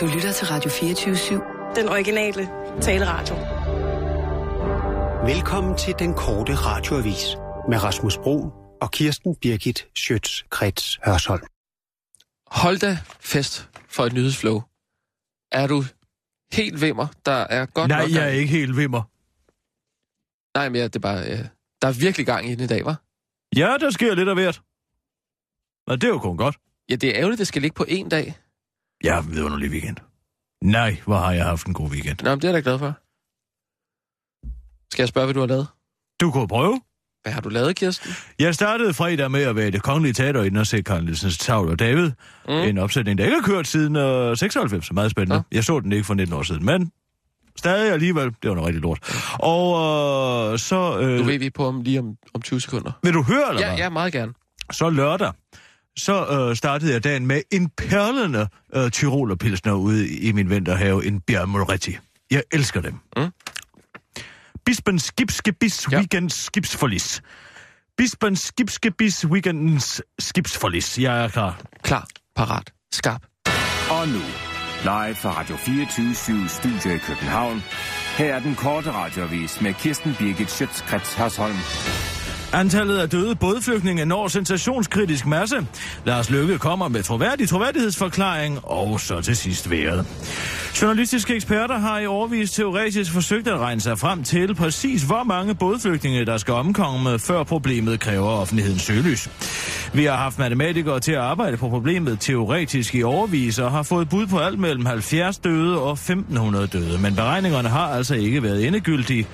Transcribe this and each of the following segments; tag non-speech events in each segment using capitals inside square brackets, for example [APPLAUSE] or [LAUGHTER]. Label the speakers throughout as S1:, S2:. S1: Du lytter til Radio 24-7.
S2: Den originale taleradio.
S3: Velkommen til den korte radioavis med Rasmus Bro og Kirsten Birgit Schøtz-Krets Hørsholm.
S4: Hold da fest for et nyhedsflow. Er du helt vimmer? Der er godt
S5: Nej,
S4: nok...
S5: jeg er ikke helt vimmer.
S4: Nej, men ja, det er bare... Øh, der er virkelig gang i den i dag, var.
S5: Ja, der sker lidt af hvert. Og det er jo kun godt.
S4: Ja, det er ærgerligt, det skal ligge på én dag.
S5: Jeg har en vidunderlig weekend. Nej, hvor har jeg haft en god weekend.
S4: Nå, men det er jeg da glad for. Skal jeg spørge, hvad du har lavet?
S5: Du kunne prøve.
S4: Hvad har du lavet, Kirsten?
S5: Jeg startede fredag med at være i det kongelige teater inden og se Karl Nielsens Tavl og David. Mm. En opsætning, der ikke har kørt siden øh, 96, så meget spændende. Ja. Jeg så den ikke for 19 år siden, men stadig alligevel. Det var noget rigtig lort. Og øh, så... Øh,
S4: Du ved vi på om lige om, om 20 sekunder.
S5: Vil du høre, eller
S4: Ja,
S5: hvad?
S4: ja, meget gerne.
S5: Så lørdag, så øh, startede jeg dagen med en perlende øh, tyrolerpilsner ude i min vinterhave, en Bjermoretti. Jeg elsker dem. Mm. Bispen Skibskebis
S4: Ja.
S5: ja. Weekend Skibsforlis. Bispen Skibskebis Weekends Skibsforlis. Jeg er klar.
S4: Klar, parat, skarp.
S6: Og nu, live fra Radio 24 Studio i København. Her er den korte radiovis med Kirsten Birgit Schøtzgrads Hasholm.
S5: Antallet af døde bådflygtninge når sensationskritisk masse. Lars Løkke kommer med troværdig troværdighedsforklaring, og så til sidst vejret. Journalistiske eksperter har i overvis teoretisk forsøgt at regne sig frem til præcis, hvor mange bådflygtninge, der skal omkomme, før problemet kræver offentlighedens søgelys. Vi har haft matematikere til at arbejde på problemet teoretisk i overvis, og har fået bud på alt mellem 70 døde og 1500 døde, men beregningerne har altså ikke været endegyldige.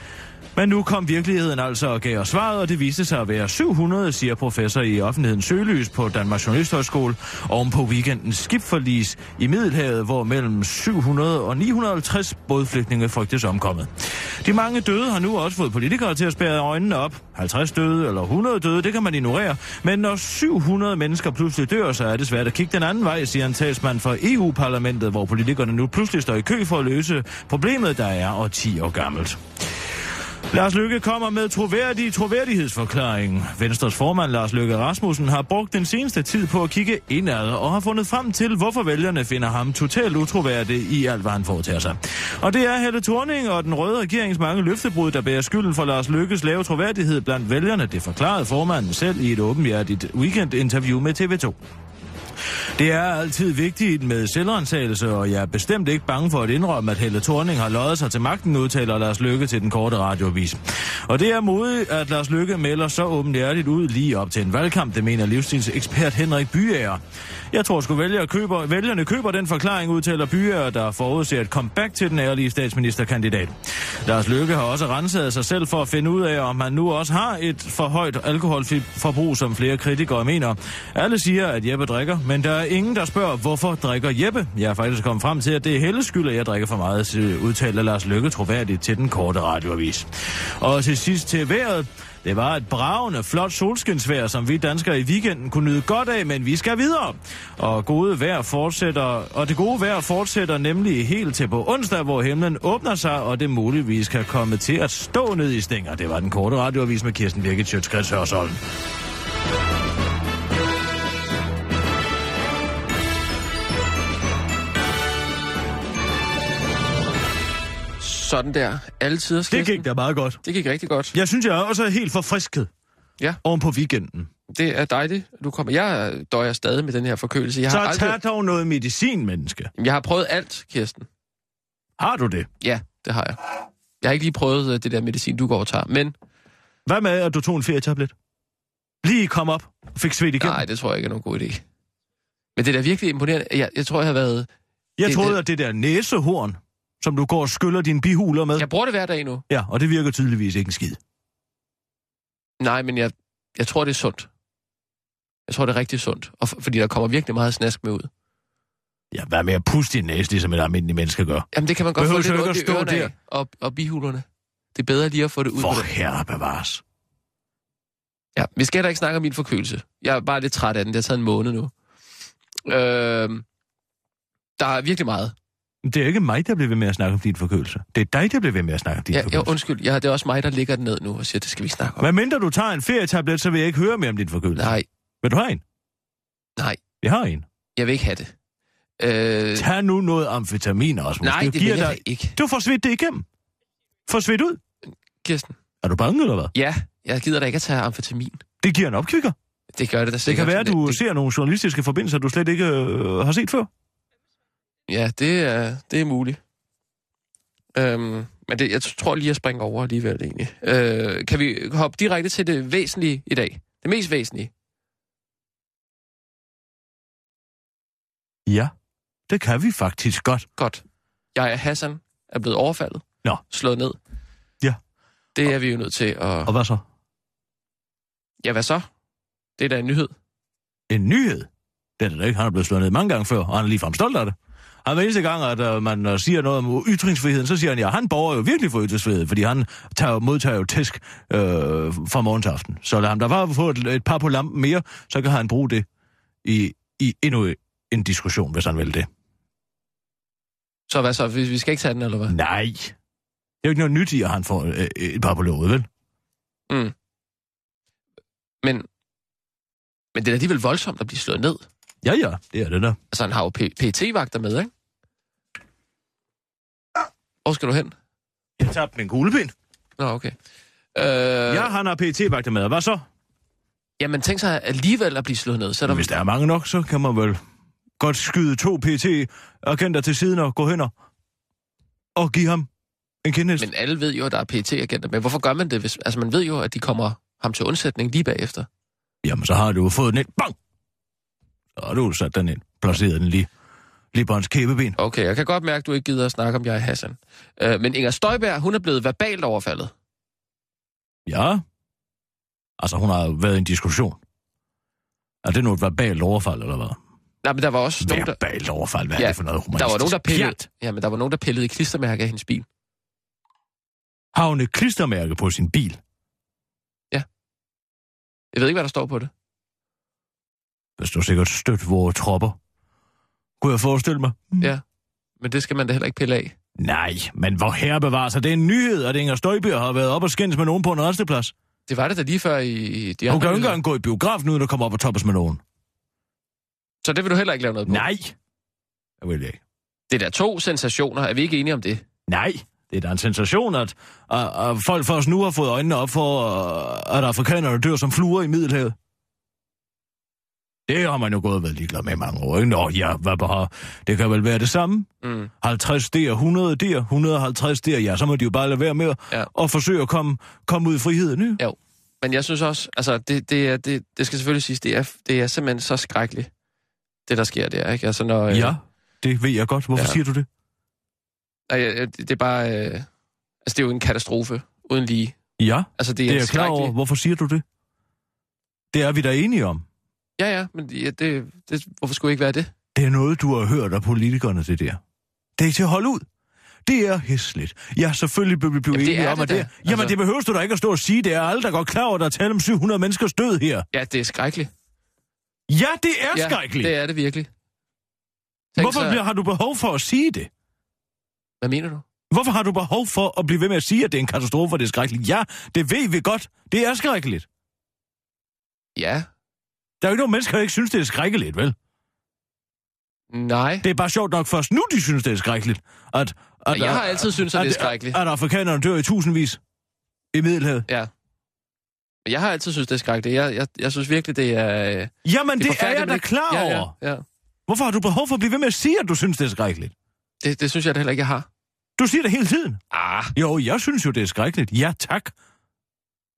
S5: Men nu kom virkeligheden altså og gav os svaret, og det viste sig at være 700, siger professor i offentlighedens søgelys på Danmarks Journalisthøjskole, oven på weekendens skibforlis i Middelhavet, hvor mellem 700 og 950 bådflygtninge frygtes omkommet. De mange døde har nu også fået politikere til at spære øjnene op. 50 døde eller 100 døde, det kan man ignorere. Men når 700 mennesker pludselig dør, så er det svært at kigge den anden vej, siger en talsmand for EU-parlamentet, hvor politikerne nu pludselig står i kø for at løse problemet, der er årti år gammelt. Lars Lykke kommer med troværdig troværdighedsforklaring. Venstres formand Lars Lykke Rasmussen har brugt den seneste tid på at kigge indad og har fundet frem til, hvorfor vælgerne finder ham totalt utroværdig i alt, hvad han foretager sig. Og det er Helle Thorning og den røde regerings mange løftebrud, der bærer skylden for Lars Lykkes lave troværdighed blandt vælgerne. Det forklarede formanden selv i et åbenhjertigt weekendinterview med TV2. Det er altid vigtigt med selvrensagelse, og jeg er bestemt ikke bange for at indrømme, at Helle Thorning har løjet sig til magten, udtaler Lars Løkke til den korte radiovis. Og det er modigt, at Lars Løkke melder så åbenhjertigt ud lige op til en valgkamp, det mener livsstilsekspert Henrik Byager. Jeg tror sgu vælger køber, vælgerne køber den forklaring, udtaler Byager, der forudser et comeback til den ærlige statsministerkandidat. Lars Løkke har også renset sig selv for at finde ud af, om han nu også har et for højt alkoholforbrug, som flere kritikere mener. Alle siger, at Jeppe drikker, men der er ingen, der spørger, hvorfor drikker Jeppe? Jeg er faktisk kommet frem til, at det er Helles skyld, at jeg drikker for meget, siger- udtaler Lars Løkke troværdigt til den korte radioavis. Og til sidst til vejret. Det var et bravende, flot solskinsvejr, som vi danskere i weekenden kunne nyde godt af, men vi skal videre. Og, gode vejr fortsætter, og det gode vejr fortsætter nemlig helt til på onsdag, hvor himlen åbner sig, og det muligvis kan komme til at stå ned i stænger. Det var den korte radioavis med Kirsten Birgit Sjøtskreds Hørsholm.
S4: Sådan der. Alle tider,
S5: Det
S4: Kirsten.
S5: gik da meget godt.
S4: Det gik rigtig godt.
S5: Jeg synes, jeg er også helt forfrisket
S4: Ja.
S5: oven på weekenden.
S4: Det er dejligt. Du kommer. Jeg øh, døjer stadig med den her forkølelse. Jeg
S5: Så
S4: har,
S5: tag
S4: aldrig...
S5: dog noget medicin, menneske.
S4: jeg har prøvet alt, Kirsten.
S5: Har du det?
S4: Ja, det har jeg. Jeg har ikke lige prøvet øh, det der medicin, du går og tager, men
S5: Hvad med, at du tog en ferietablet? Lige kom op og fik svedt igen.
S4: nej, det tror jeg ikke er nogen god idé. Men det er da virkelig imponerende. Jeg, jeg tror, jeg har været...
S5: jeg
S4: det-
S5: troede,
S4: det-
S5: at det der næsehorn, som du går og skyller dine bihuler med...
S4: Jeg bruger det hver dag nu.
S5: Ja, og det virker tydeligvis ikke en skid.
S4: Nej, men jeg, jeg tror, det er sundt. Jeg tror, det er rigtig sundt. Og f- fordi der kommer virkelig meget snask med ud.
S5: Ja, hvad med at puste din næse, ligesom et almindeligt menneske gør?
S4: Jamen, det kan man godt
S5: Behøver
S4: få lidt
S5: du ikke
S4: ondt i
S5: at stå
S4: ørerne
S5: der?
S4: af og, og bihulerne. Det er bedre lige at få det ud. på
S5: For
S4: den.
S5: herre bevares.
S4: Ja, vi skal da ikke snakke om min forkølelse. Jeg er bare lidt træt af den. Det har taget en måned nu. Øhm, der er virkelig meget.
S5: Det er ikke mig, der bliver ved med at snakke om din forkølelse. Det er dig, der bliver ved med at snakke om din
S4: Ja,
S5: forkølelse.
S4: jeg, undskyld, jeg, det er også mig, der ligger den ned nu og siger, det skal vi ikke snakke om.
S5: Hvad mindre du tager en ferietablet, så vil jeg ikke høre mere om din forkølelse.
S4: Nej,
S5: Vil du have en?
S4: Nej.
S5: Jeg har en.
S4: jeg vil ikke have det. Øh,
S5: Tag nu noget amfetamin, Rasmus.
S4: nej, det
S5: giver
S4: vil jeg da ikke,
S5: Du får svidt det igennem. Får svidt ud.
S4: Kirsten.
S5: Er du bange eller hvad?
S4: Ja, jeg gider da ikke at tage amfetamin.
S5: Det giver en opkvikker.
S4: Det gør det da
S5: Det
S4: sikkert.
S5: kan være, at du
S4: det,
S5: ser nogle journalistiske forbindelser, du slet ikke øh, har set før.
S4: Ja, det er, det er muligt. Øhm, men det, jeg tror lige, jeg springer over alligevel egentlig. Øh, kan vi hoppe direkte til det væsentlige i dag? Det mest væsentlige?
S5: Ja, det kan vi faktisk godt.
S4: Godt. Jeg er Hassan, er blevet overfaldet.
S5: Nå.
S4: Slået ned.
S5: Ja.
S4: Det er vi jo nødt til at...
S5: Og hvad så?
S4: Ja, hvad så? Det er da en nyhed.
S5: En nyhed? Det er det da ikke. Han er blevet slået ned mange gange før, og han er ligefrem stolt af det. Han hver eneste gang, at øh, man øh, siger noget om ytringsfriheden, så siger han, ja, han borger jo virkelig for ytringsfrihed, fordi han tager, jo- modtager jo tæsk øh, fra morgen til aften. Så lad ham da bare få et, et par på lampen mere, så kan han bruge det i, i endnu en diskussion, hvis han vil det.
S4: Så hvad så? Vi, vi skal ikke tage den, eller hvad?
S5: Nej. Det er jo ikke noget nyt i, at han får øh, et par på låget, vel?
S4: Men, men det er da alligevel voldsomt at blive slået ned.
S5: Ja, ja, det er det der.
S4: Altså, han har jo pt vagter med, ikke? Hvor skal du hen?
S5: Jeg tabte min kuglepind.
S4: Nå, okay.
S5: Øh.
S4: Øh,
S5: Ja, han har pt vagter med. og Hvad så?
S4: Jamen, tænk sig alligevel at blive slået ned. Så er der...
S5: Hvis der er mange nok, så kan man vel godt skyde to pt agenter til siden og gå hen og, og give ham en kendelse. Men...
S4: Men alle ved jo, at der er pt agenter Men hvorfor gør man det? Hvis... Altså, man ved jo, at de kommer ham til undsætning lige bagefter.
S5: Jamen, så har du jo fået den ind. Bang! Så har du sat den ind. Placeret den lige, lige på hans kæbeben.
S4: Okay, jeg kan godt mærke, at du ikke gider at snakke om jeg Hassan. Øh, men Inger Støjberg, hun er blevet verbalt overfaldet.
S5: Ja. Altså, hun har været i en diskussion. Er det nu et verbalt overfald, eller hvad?
S4: Nej, men der var også nogen, der...
S5: Verbalt overfald, hvad ja, er
S4: Ja,
S5: det for noget humanistisk
S4: Der var nogen, der pillede,
S5: pjat?
S4: ja, men der var nogen, der pillede i klistermærker af hendes bil.
S5: Har hun et klistermærke på sin bil?
S4: Jeg ved ikke, hvad der står på det.
S5: Der står sikkert støt vores tropper. Kunne jeg forestille mig?
S4: Ja. Men det skal man da heller ikke pille af.
S5: Nej, men hvor herre bevarer sig. Det er en nyhed, at Inger Støjbjerg har været op og skændes med nogen på en resteplads.
S4: Det var det da lige før i de
S5: Hun kan jo ikke
S4: nyheder.
S5: engang gå i biografen, uden at komme op og toppes med nogen.
S4: Så det vil du heller ikke lave noget på?
S5: Nej. Det vil jeg ikke.
S4: Det er da to sensationer. Er vi ikke enige om det?
S5: Nej. Det er da en sensation, at, at, at folk først nu har fået øjnene op for, øh, at afrikanerne dør som fluer i Middelhavet. Det har man jo gået og været ligeglad med i mange år, ikke? Nå ja, hvad bare, det kan vel være det samme.
S4: Mm.
S5: 50 der, 100 der, 150 der, ja, så må de jo bare lade være med at
S4: Ja.
S5: og forsøge at komme, komme ud i friheden, ikke?
S4: Jo. Men jeg synes også, altså, det, det, er, det, det skal selvfølgelig siges, det er, det er simpelthen så skrækkeligt, det der sker der, ikke? Altså, når, øh,
S5: Ja, det ved jeg godt. Hvorfor ja.
S4: Ja.
S5: siger du det?
S4: nej, øh, det er bare, øh, altså, det er jo en katastrofe uden lige.
S5: Ja,
S4: Altså, det er,
S5: det er
S4: en
S5: jeg klar
S4: skrækkelig-
S5: over. Hvorfor siger du det? Det er vi da enige om.
S4: Ja, ja, men ja, det, det, hvorfor skulle ikke være det?
S5: Det er noget, du har hørt af politikerne, det der. Det er ikke til at holde ud. Det er hæsligt. Ja, selvfølgelig blev vi blive
S4: Jamen, det
S5: enige
S4: er
S5: om,
S4: det
S5: at det
S4: da.
S5: er. Jamen,
S4: Altså-
S5: det behøver du da ikke at stå og sige. Det er alle, der godt klar over, at der er tale om 700 menneskers død her.
S4: Ja, det er skrækkeligt.
S5: Ja, det er
S4: ja,
S5: ja, skrækkeligt.
S4: det er det virkelig. Tænk
S5: Hvorfor så... har du behov for at sige det?
S4: Hvad mener du?
S5: Hvorfor har du behov for at blive ved med at sige, at det er en katastrofe, og det er skrækkeligt? Ja, det ved vi godt. Det er skrækkeligt.
S4: Ja,
S5: Der er jo ikke nogen mennesker, der ikke synes, det er skrækkeligt, vel?
S4: nej.
S5: Det er bare sjovt nok først nu, de synes, det er skrækkeligt. At, at,
S4: Jeg har altid syntes, at det er skrækkeligt.
S5: At, at afrikanerne dør i tusindvis i Middelhavet.
S4: Ja. Men Jeg har altid synes det er skrækkeligt. Jeg, jeg, jeg synes virkelig, det er... øh,
S5: Jamen, det, det er
S4: forfærdeligt,
S5: jeg
S4: men
S5: da
S4: ikke-
S5: klar over.
S4: ja, Ja, ja.
S5: Hvorfor har du behov for at blive ved med at sige, at du synes, det er skrækkeligt?
S4: Det, det synes jeg da heller ikke, jeg har.
S5: Du siger det hele tiden.
S4: Ah,
S5: Jo, jeg synes jo, det er skrækkeligt. Ja, tak.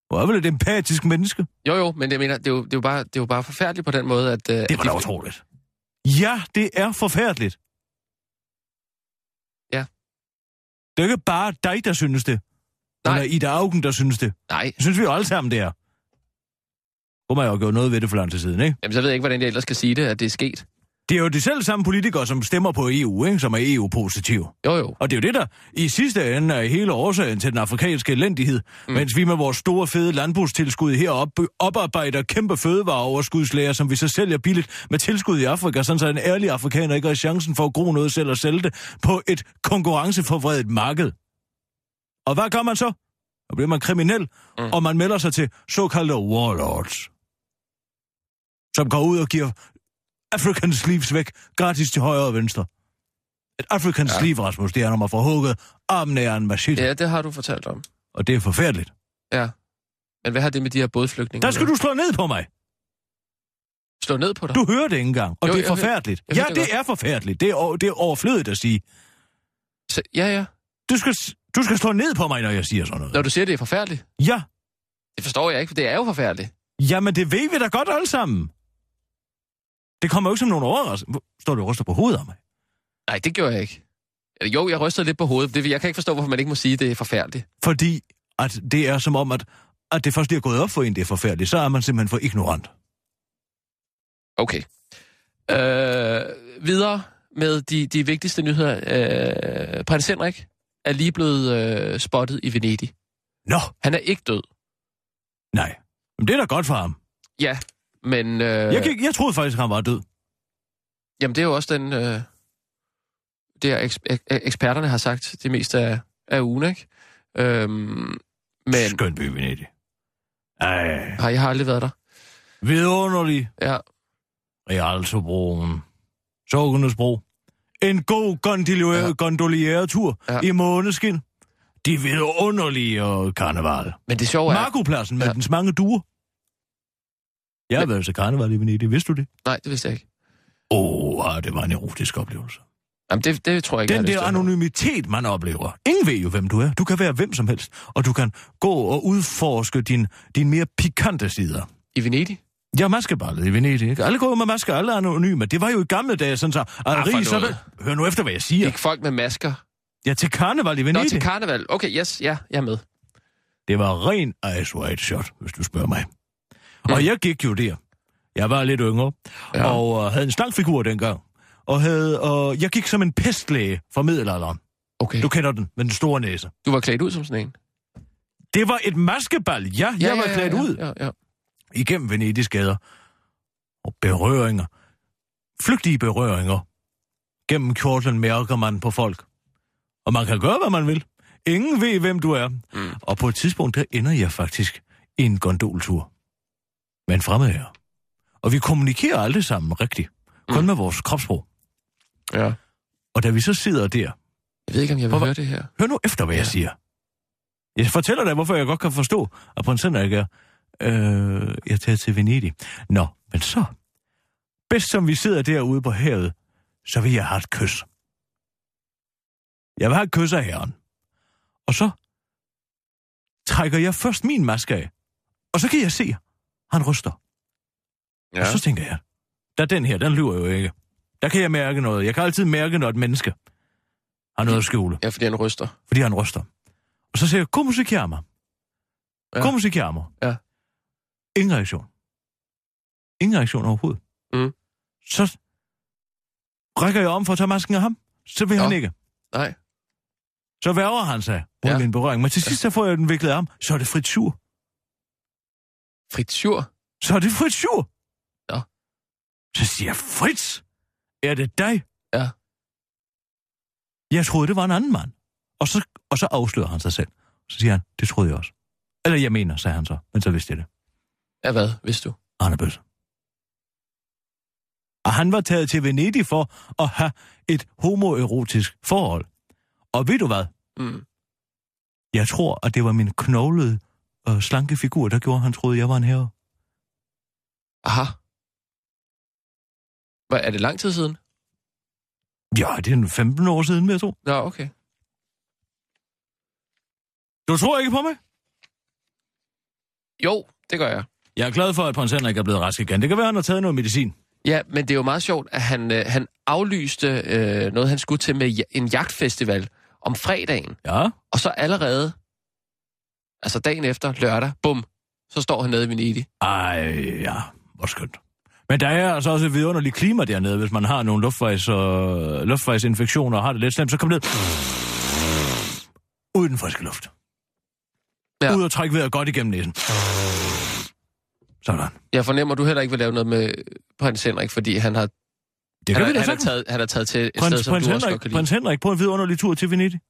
S5: Hvor er vel et empatisk menneske?
S4: jo jo, men jeg mener, det er jo, det er jo, bare, det er jo bare forfærdeligt på den måde, at... øh, at
S5: Det var da
S4: de-
S5: utroligt. Ja, det er forfærdeligt.
S4: Ja.
S5: Det er jo ikke bare dig, der synes det.
S4: Nej.
S5: Eller Ida Augen, der synes det.
S4: Nej,
S5: Det synes vi jo alle sammen, det er. Kunne man jo have gjort noget ved det for lang tid siden, ikke?
S4: jamen så ved jeg ikke, hvordan jeg ellers skal sige det, at det er sket.
S5: Det er jo de selv samme politikere, som stemmer på EU, ikke? Som er EU-positive.
S4: Jo jo,
S5: Og det er jo det, der i sidste ende er hele årsagen til den afrikanske elendighed, mm. mens vi med vores store fede landbrugstilskud her op, oparbejder kæmpe fødevareoverskudslæger, som vi så sælger billigt med tilskud i Afrika, sådan så en ærlig afrikaner ikke har chancen for at gro noget selv og sælge det på et konkurrenceforvredet marked. Og hvad gør man så? Så bliver man kriminel, mm. og man melder sig til såkaldte warlords, som går ud og giver African sleeves væk, gratis til højre og venstre. Et African ja. sleeve, Rasmus, det er, når man får hugget armen af en machete, ja.
S4: Ja, det har du fortalt om.
S5: og det er forfærdeligt.
S4: Ja. Men hvad har det med de her bådflygtninge?
S5: Der skal
S4: at gøre?
S5: du slå ned på mig.
S4: Slå ned på dig.
S5: Du hører det ikke engang, og
S4: Jo,
S5: jo, det
S4: jeg
S5: er
S4: hører-
S5: forfærdeligt.
S4: jeg
S5: ja,
S4: hører det
S5: det er forfærdeligt. Det er, over, det er overflødigt at sige.
S4: Så, ja, ja.
S5: Du skal, s- du skal slå ned på mig, når jeg siger sådan noget.
S4: Når du siger, det er forfærdeligt.
S5: Ja,
S4: Det forstår jeg ikke, for det er jo forfærdeligt.
S5: jamen det ved vi da godt alle sammen. Det kommer jo ikke som nogen overraskelse. Hvor- Står du og ryster på hovedet af mig?
S4: Nej, det gjorde jeg ikke. Eller, Jo, jeg rystede lidt på hovedet. Det, jeg kan ikke forstå, hvorfor man ikke må sige, at det er forfærdeligt.
S5: Fordi at det er som om, at, at det først lige er gået op for en, det er forfærdeligt. Så er man simpelthen for ignorant.
S4: Okay. Øh, videre med de, de vigtigste nyheder. Øh, prins Henrik er lige blevet øh, spottet i Venedig.
S5: Nå,
S4: Han er ikke død.
S5: nej. Men det er da godt for ham.
S4: Ja, men... Øh,
S5: Jeg, gik, jeg troede faktisk, han var død.
S4: Jamen, det er jo også den... Øh, det er eks- ek- eksperterne har sagt det meste af, af ugen, ikke? Øhm, men...
S5: Men... Skøn by, Venedig. Ej,
S4: Har jeg har aldrig været der?
S5: vidunderlig.
S4: Ja.
S5: Rialtobroen. Sukkernes bro. En god gondolier-
S4: Ja.
S5: ja. gondolieretur
S4: Ja.
S5: ja. i måneskin. De vidunderlige og karneval.
S4: Men det sjove er...
S5: Markopladsen med
S4: Ja.
S5: ja. dens mange duer. Jeg har været til karneval i Venedig, vidste du det?
S4: Nej, det vidste jeg ikke.
S5: Åh, oh, det var en erotisk oplevelse.
S4: Jamen, det, det tror jeg ikke, jeg
S5: Den
S4: har
S5: der
S4: lyst til.
S5: anonymitet, man oplever. Ingen ved jo, hvem du er. Du kan være hvem som helst, og du kan gå og udforske din, din mere pikante sider.
S4: I Venedig?
S5: Ja, maskeballet i Venedig. Ikke? Alle går jo med masker, alle er anonyme. Det var jo i gamle dage, sådan så...
S4: Ah,
S5: Ah,
S4: for
S5: rig, så
S4: noget.
S5: vel- Hør nu efter, hvad jeg
S4: Ja.
S5: siger.
S4: Ikke folk med masker.
S5: Ja, til karneval i
S4: Nå,
S5: Venedig.
S4: til karneval. Okay, yes, ja, jeg er med.
S5: Det var ren Ice White Shot, hvis du spørger mig.
S4: Mm.
S5: Mm. Og jeg gik jo der. Jeg var lidt yngre,
S4: Ja.
S5: ja. og øh, havde en slangfigur dengang. Og havde, øh, jeg gik som en pestlæge fra middelalderen.
S4: Okay.
S5: Du
S4: Du,
S5: kender den, med den store næse.
S4: du var klædt ud som sådan en.
S5: Det var et maskebal, ja. Jeg var klædt
S4: ja,
S5: ud.
S4: Ja, ja.
S5: igennem Venedigs gader. Og berøringer. Flygtige berøringer. Gennem kjortlen mærker man på folk. Og man kan gøre, hvad man vil. Ingen ved, hvem du er.
S4: Mm.
S5: Mm. Og på et tidspunkt, der ender jeg faktisk i en gondoltur. Med en fremmed her. Og vi kommunikerer aldrig sammen rigtigt. Kun
S4: Mm.
S5: mm. med vores kropsprog.
S4: ja.
S5: Og da vi så sidder der,
S4: Jeg ved ikke, om jeg vil
S5: Hvorfor-
S4: høre det her.
S5: Hør nu efter, hvad
S4: Ja.
S5: ja. jeg siger. Jeg fortæller dig, hvorfor jeg godt kan forstå, at prins Henrik er, øh, jeg tager til Venedig. Nå, men så, bedst som vi sidder derude på havet, så vil jeg have et kys. Jeg vil have et kys af herren. Og så trækker jeg først min maske af, og så kan jeg se, han ryster. Ja. Og så tænker jeg, der er den her, den lyver jo ikke. Der kan jeg mærke noget. Jeg kan altid mærke, når et menneske har noget at skjule
S4: Ja, fordi han ryster.
S5: fordi han ryster. Og så siger jeg, kom musik her,
S4: Ja.
S5: ja. Kom musik her,
S4: Ja.
S5: Ingen reaktion. Ingen reaktion overhovedet.
S4: Mm.
S5: Så rækker jeg om for at tage masken af ham. Så vil
S4: Nå.
S5: ja. han ikke.
S4: Nej.
S5: Så værger han sig.
S4: Ja.
S5: Ja. en berøring. Men til sidst, så får jeg den viklet af ham. Så er det frit sur.
S4: Fritur.
S5: Så er det frit sur.
S4: Nå.
S5: Så siger jeg, Fritz, er det dig?
S4: Ja.
S5: Jeg troede, det var en anden mand. Og så, og så afslører han sig selv. Så siger han, det troede jeg også. Eller jeg mener, sagde han så. Men så vidste jeg det.
S4: Ja, hvad, hvis du?
S5: Arne Bøsse. Og han var taget til Venedig for at have et homoerotisk forhold. Og ved du hvad?
S4: Mm.
S5: Jeg tror, at det var min knoglede og slanke figur, der gjorde, at han troede, jeg var en herre.
S4: Aha. Hvad, er det lang tid siden?
S5: Ja, det er en 15 år siden, vil jeg tro.
S4: Nå, okay.
S5: Du tror ikke på mig?
S4: Jo, det gør jeg.
S5: Jeg er glad for, at prins Henrik er blevet rask igen. Det kan være, han har taget noget medicin.
S4: Ja, men det er jo meget sjovt, at han, øh, han aflyste øh, noget, han skulle til med ja- en jagtfestival om fredagen.
S5: Ja,
S4: Og så allerede, altså dagen efter, lørdag, bum, så står han nede i Venedig.
S5: Ej, ja, hvor skønt. Men der er altså også et vidunderligt klima dernede, hvis man har nogle luftvejs, øh, luftvejsinfektioner og har det lidt slemt, så kom ned. Ud i den friske luft.
S4: Ja.
S5: Ja. Ud og trække vejret godt igennem næsen. Sådan.
S4: Jeg fornemmer, du heller ikke vil lave noget med prins Henrik, fordi han har,
S5: Det kan
S4: han,
S5: vi
S4: har,
S5: da
S4: han, har
S5: sagtens.
S4: taget, han har taget til et sted,
S5: Prins,
S4: som
S5: prins,
S4: du også godt
S5: Henrik,
S4: kan lide.
S5: prins Henrik på en vidunderlig tur til Venedig.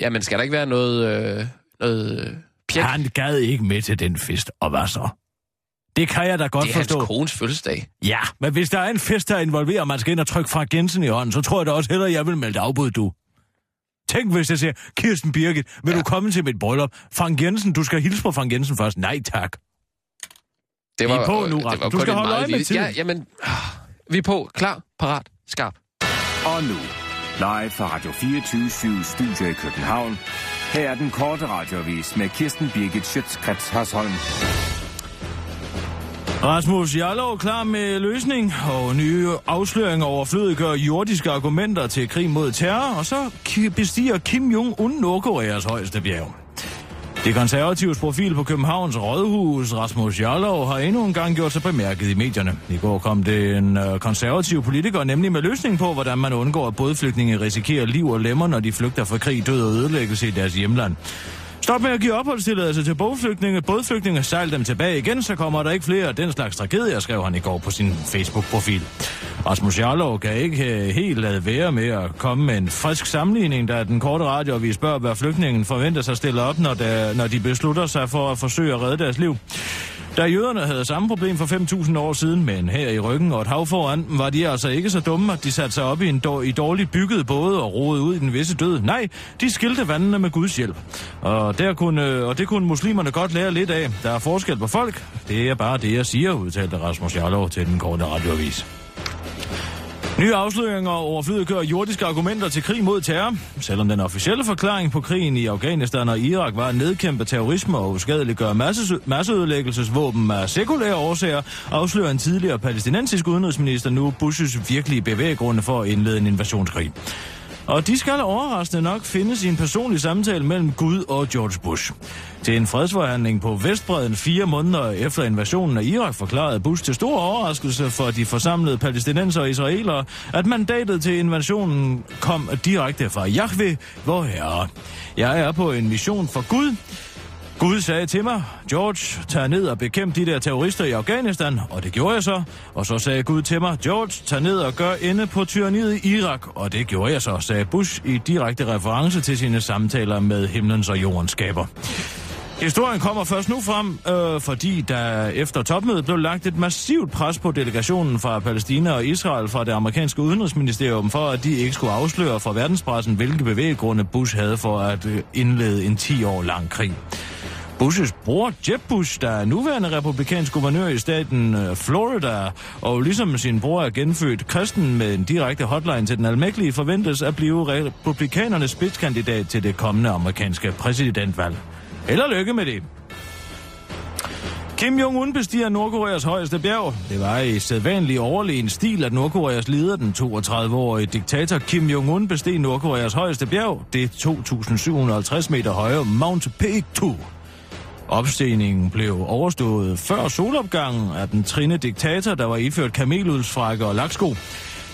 S4: Jamen, skal der ikke være noget, øh, noget øh, pjek?
S5: Han gad ikke med til den fest, og hvad så? Det kan jeg da godt
S4: det er
S5: forstå.
S4: hans kones fødselsdag.
S5: Ja, men hvis der er en fest, der involverer, at man skal ind og trykke fra Jensen i hånden, så tror jeg da også hellere, at jeg vil melde afbud, du. Tænk, hvis jeg siger, Kirsten Birgit, vil ja. du komme til mit bryllup? Frank Jensen, du skal hilse på Frank Jensen først. Nej, tak.
S4: Det
S5: Vi er på nu,
S4: øh, det var
S5: Rasmus. Du
S4: kun
S5: skal
S4: en
S5: holde
S4: meget
S5: øje med
S4: lille-
S5: tiden.
S4: Ja, jamen, ah, vi er på. Klar, parat, skarp.
S6: Og nu, live fra Radio 24 Studio i København. Her er den korte radiovis med Kirsten Birgit Schøtzgrads Hasholm.
S5: Rasmus Jarlov klar med løsning, og nye afsløringer overflødiggør jordiske argumenter til krig mod terror, og så ki- bestiger Kim Jong-un Nordkoreas højeste bjerg. Det konservatives profil på Københavns Rådhus, Rasmus Jarlov, har endnu en gang gjort sig bemærket i medierne. I går kom det en øh, konservativ politiker nemlig med løsning på, hvordan man undgår, at bådflygtninge risikerer liv og lemmer, når de flygter fra krig, død og ødelæggelse i deres hjemland. Stop med at give opholdstilladelse til bådflygtninge. Bådflygtninge sejl dem tilbage igen, så kommer der ikke flere af den slags tragedier, skrev han i går på sin Facebook-profil. Rasmus Jarlov kan ikke øh, helt lade være med at komme med en frisk sammenligning, da den korte radioavis spørger, hvad flygtningen forventer sig stille op, når, der, når de beslutter sig for at forsøge at redde deres liv. Da jøderne havde samme problem for 5.000 år siden, men her i ryggen og et hav foran, var de altså ikke så dumme, at de satte sig op i en dår, i dårligt bygget både og roede ud i den visse død. Nej, de skilte vandene med Guds hjælp. Og, der kunne, og det kunne muslimerne godt lære lidt af. Der er forskel på folk. Det er bare det, jeg siger, udtalte Rasmus Jarlov til den korte radioavis. Nye afsløringer overflødiggør jordiske argumenter til krig mod terror. Selvom den officielle forklaring på krigen i Afghanistan og Irak var at nedkæmpe terrorisme og uskadeliggøre masse, masseødelæggelsesvåben af sekulære årsager, afslører en tidligere palæstinensisk udenrigsminister nu Bushes virkelige bevæggrunde for at indlede en invasionskrig. Og de skal overraskende nok findes i en personlig samtale mellem Gud og George Bush. Til en fredsforhandling på Vestbreden fire måneder efter invasionen af Irak forklarede Bush til stor overraskelse for de forsamlede palæstinenser og israelere, at mandatet til invasionen kom direkte fra Yahweh, vor herre. Jeg er på en mission for Gud, Gud sagde til mig, George, tag ned og bekæmp de der terrorister i Afghanistan, og det gjorde jeg så. Og så sagde Gud til mig, George, tag ned og gør ende på tyranniet i Irak, og det gjorde jeg så, sagde Bush i direkte reference til sine samtaler med himlens og jordens skaber. Historien kommer først nu frem, øh, fordi der efter topmødet blev lagt et massivt pres på delegationen fra Palæstina og Israel fra det amerikanske udenrigsministerium for, at de ikke skulle afsløre for verdenspressen, hvilke bevæggrunde Bush havde for at øh, indlede en 10 år lang krig. Bushes bror, Jeb Bush, der er nuværende republikansk guvernør i staten øh, Florida, og ligesom sin bror er genfødt kristen med en direkte hotline til den almægtige, forventes at blive republikanernes spidskandidat til det kommende amerikanske præsidentvalg. Held og lykke med det. Kim Jong-un bestiger Nordkoreas højeste bjerg. Det var i sædvanlig overlegen stil, at Nordkoreas leder, den 32-årige diktator Kim Jong-un, besteg Nordkoreas højeste bjerg, det 2.750 meter høje Mount Pektu. Opstigningen blev overstået før solopgangen af den trine diktator, der var iført kameluldsfrække og laksko.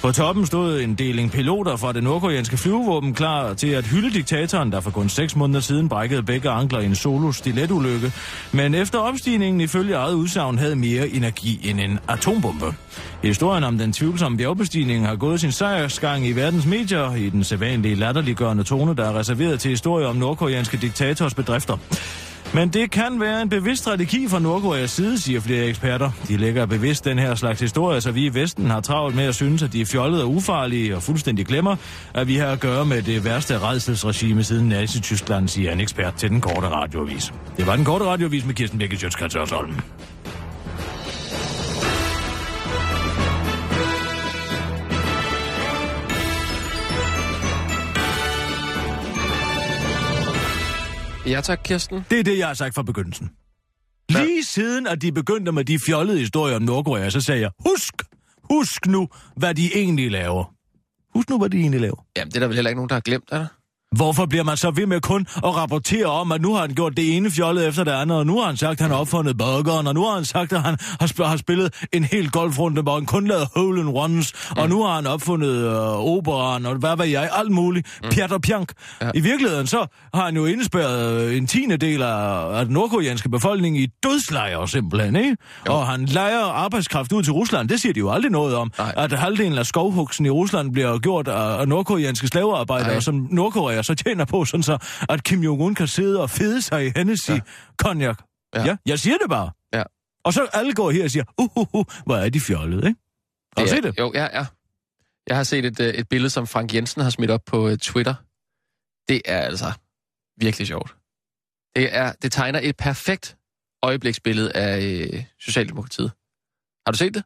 S5: På toppen stod en deling piloter fra det nordkoreanske flyvevåben klar til at hylde diktatoren, der for kun 6 måneder siden brækkede begge ankler i en solo stiletulykke, men efter opstigningen ifølge eget udsagn havde mere energi end en atombombe. Historien om den tvivlsomme bjergbestigning har gået sin sejrsgang i verdens medier i den sædvanlige latterliggørende tone, der er reserveret til historier om nordkoreanske diktators bedrifter. Men det kan være en bevidst strategi fra Nordkoreas side, siger flere eksperter. De lægger bevidst den her slags historie, så vi i Vesten har travlt med at synes, at de er fjollede og ufarlige og fuldstændig glemmer, at vi har at gøre med det værste redselsregime siden Nazi-Tyskland, siger en ekspert til den korte radioavis. Det var den korte radioavis med Kirsten Birgit Sjøtskrets Hørsholm.
S4: Ja tak, Kirsten.
S5: Det er det, jeg har sagt fra begyndelsen. Lige siden, at de begyndte med de fjollede historier om Nordkorea, så sagde jeg, husk, husk nu, hvad de egentlig laver. Husk nu, hvad de egentlig laver.
S4: Jamen, det er der vel heller ikke nogen, der har glemt, er der?
S5: Hvorfor bliver man så ved med kun at rapportere om, at nu har han gjort det ene fjollet efter det andet, og nu har han sagt, at han har opfundet burgeren, og nu har han sagt, at han har, sp- har spillet en hel golfrunde, hvor han kun lavede hole in ones, mm. og nu har han opfundet øh, operan, og hvad ved jeg, alt muligt, mm. pjat og pjank. Ja. I virkeligheden så har han jo indspærret øh, en tiende del af, af den nordkoreanske befolkning i dødslejre simpelthen, ikke? Jo. Og han lejer arbejdskraft ud til Rusland, det siger de jo aldrig noget om,
S4: Nej.
S5: at halvdelen af skovhugsen i Rusland bliver gjort af, af nordkoreanske slavearbejdere,
S4: Nej.
S5: som som Nordkorea så tjener på, sådan så, at Kim Jong-un kan sidde og fede sig i Hennessy ja. cognac.
S4: Ja.
S5: Ja. ja, jeg siger det bare.
S4: Ja.
S5: Og så alle går her og siger, uhuhu, hvor er de fjollede, ikke? Har du
S4: Ja,
S5: set det?
S4: Jo, ja, ja. Jeg har set et, øh, et billede, som Frank Jensen har smidt op på øh, Twitter. Det er altså virkelig sjovt. Det, er, det tegner et perfekt øjebliksbillede af øh, Socialdemokratiet. Har du set det?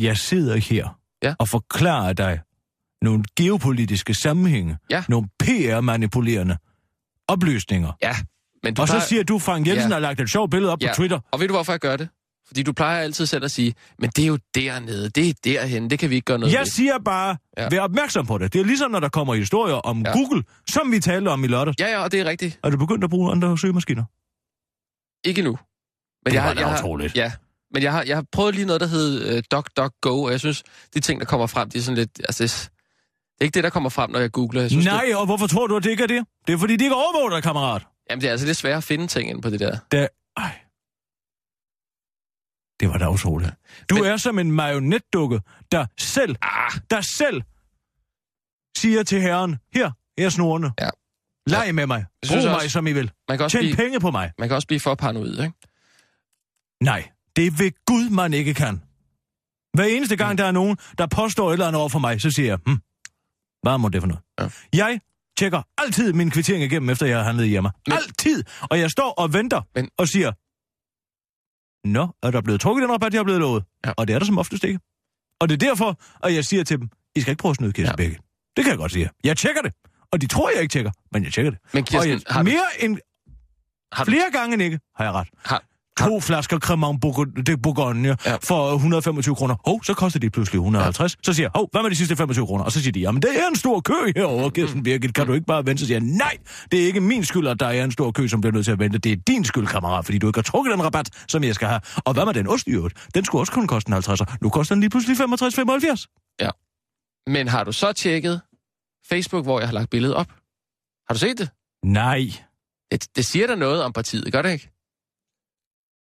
S5: Jeg sidder her
S4: Ja.
S5: og forklarer dig nogle geopolitiske sammenhænge,
S4: Ja.
S5: nogle PR-manipulerende oplysninger.
S4: Ja. Men
S5: Du og
S4: plejer-
S5: så siger du, Frank Jensen
S4: Ja.
S5: ja. har lagt et sjovt billede op ja.
S4: Ja.
S5: på Twitter.
S4: Og ved du, hvorfor jeg gør det? Fordi du plejer altid selv at sige, men det er jo dernede, det er derhen, det kan vi ikke gøre noget
S5: Jeg
S4: ved.
S5: siger bare,
S4: Ja.
S5: ja. vær opmærksom på det. Det er ligesom, når der kommer historier om
S4: Ja.
S5: ja. Google, som vi talte om i lørdags.
S4: Ja, ja, og det er rigtigt.
S5: Er du begyndt at bruge andre søgemaskiner?
S4: Ikke nu. Men
S5: Det
S4: jeg, har-
S5: var da
S4: jeg, har-
S5: utroligt.
S4: Ja, men jeg har, jeg har prøvet lige noget, der hed øh, DuckDuckGo, og jeg synes, de ting, der kommer frem, de er sådan lidt... Altså, det, er- det er ikke det, der kommer frem, når jeg googler. Jeg synes, Det,
S5: Nej, og hvorfor tror du, at det ikke er det? Det er fordi, de ikke overvåger dig, kammerat.
S4: jamen, det er altså lidt svært at finde ting ind på det der.
S5: Da... Ej. Det var da utroligt. Du
S4: Men-
S5: Men... er som en marionetdukke, der selv,
S4: Ah,
S5: der selv siger til herren, her, her er snorene.
S4: Ja.
S5: Leg med mig.
S4: Jeg
S5: Brug
S4: synes
S5: mig,
S4: også-
S5: som I vil.
S4: man kan, også
S5: Tjen
S4: blive,
S5: penge på mig.
S4: man kan også blive for paranoid, ikke?
S5: Nej, det ved Gud, man ikke kan. Hver eneste gang, der er nogen, der påstår et eller andet over for mig, så siger jeg, hm, hvad må det for noget?
S4: Ja.
S5: Jeg tjekker altid min kvittering igennem, efter jeg har handlet hjemme.
S4: Men-
S5: Men... Altid! Og jeg står og venter
S4: Men-
S5: Men... og siger, Nå, er der blevet trukket den rabat, jeg har blevet lovet?
S4: Ja.
S5: Ja. Og det er der som oftest ikke. Og det er derfor, at jeg siger til dem, I skal ikke prøve at snyde Kirsten
S4: Ja.
S5: ja. Begge. Det kan jeg godt sige. Jeg tjekker det. Og de tror, jeg ikke tjekker, men jeg tjekker det.
S4: Men Kirsten,
S5: og jeg,
S4: har du-
S5: mere end
S4: Har du,
S5: Flere gange end ikke, har jeg ret.
S4: Har-
S5: to flasker Cremant Bourgo- de Bourgogne
S4: Ja.
S5: ja. for 125 kroner. Hov, så koster de pludselig 150. Ja. Så siger jeg, hov, hvad med de sidste 25 kroner? Og så siger de, jamen det er en stor kø herovre,
S4: Mm.
S5: Kirsten Birgit. Kan du ikke bare vente? Så siger jeg, nej, det er ikke min skyld, at der er en stor kø, som bliver nødt til at vente. Det er din skyld, kammerat, fordi du ikke har trukket den rabat, som jeg skal have. Og hvad med den ost i øvrigt? Den skulle også kun koste en 50. Nu koster den lige pludselig 65-75.
S4: men har du så tjekket Facebook, hvor jeg har lagt billedet op? Har du set det?
S5: Nej.
S4: Det, det siger da noget om partiet, gør det ikke?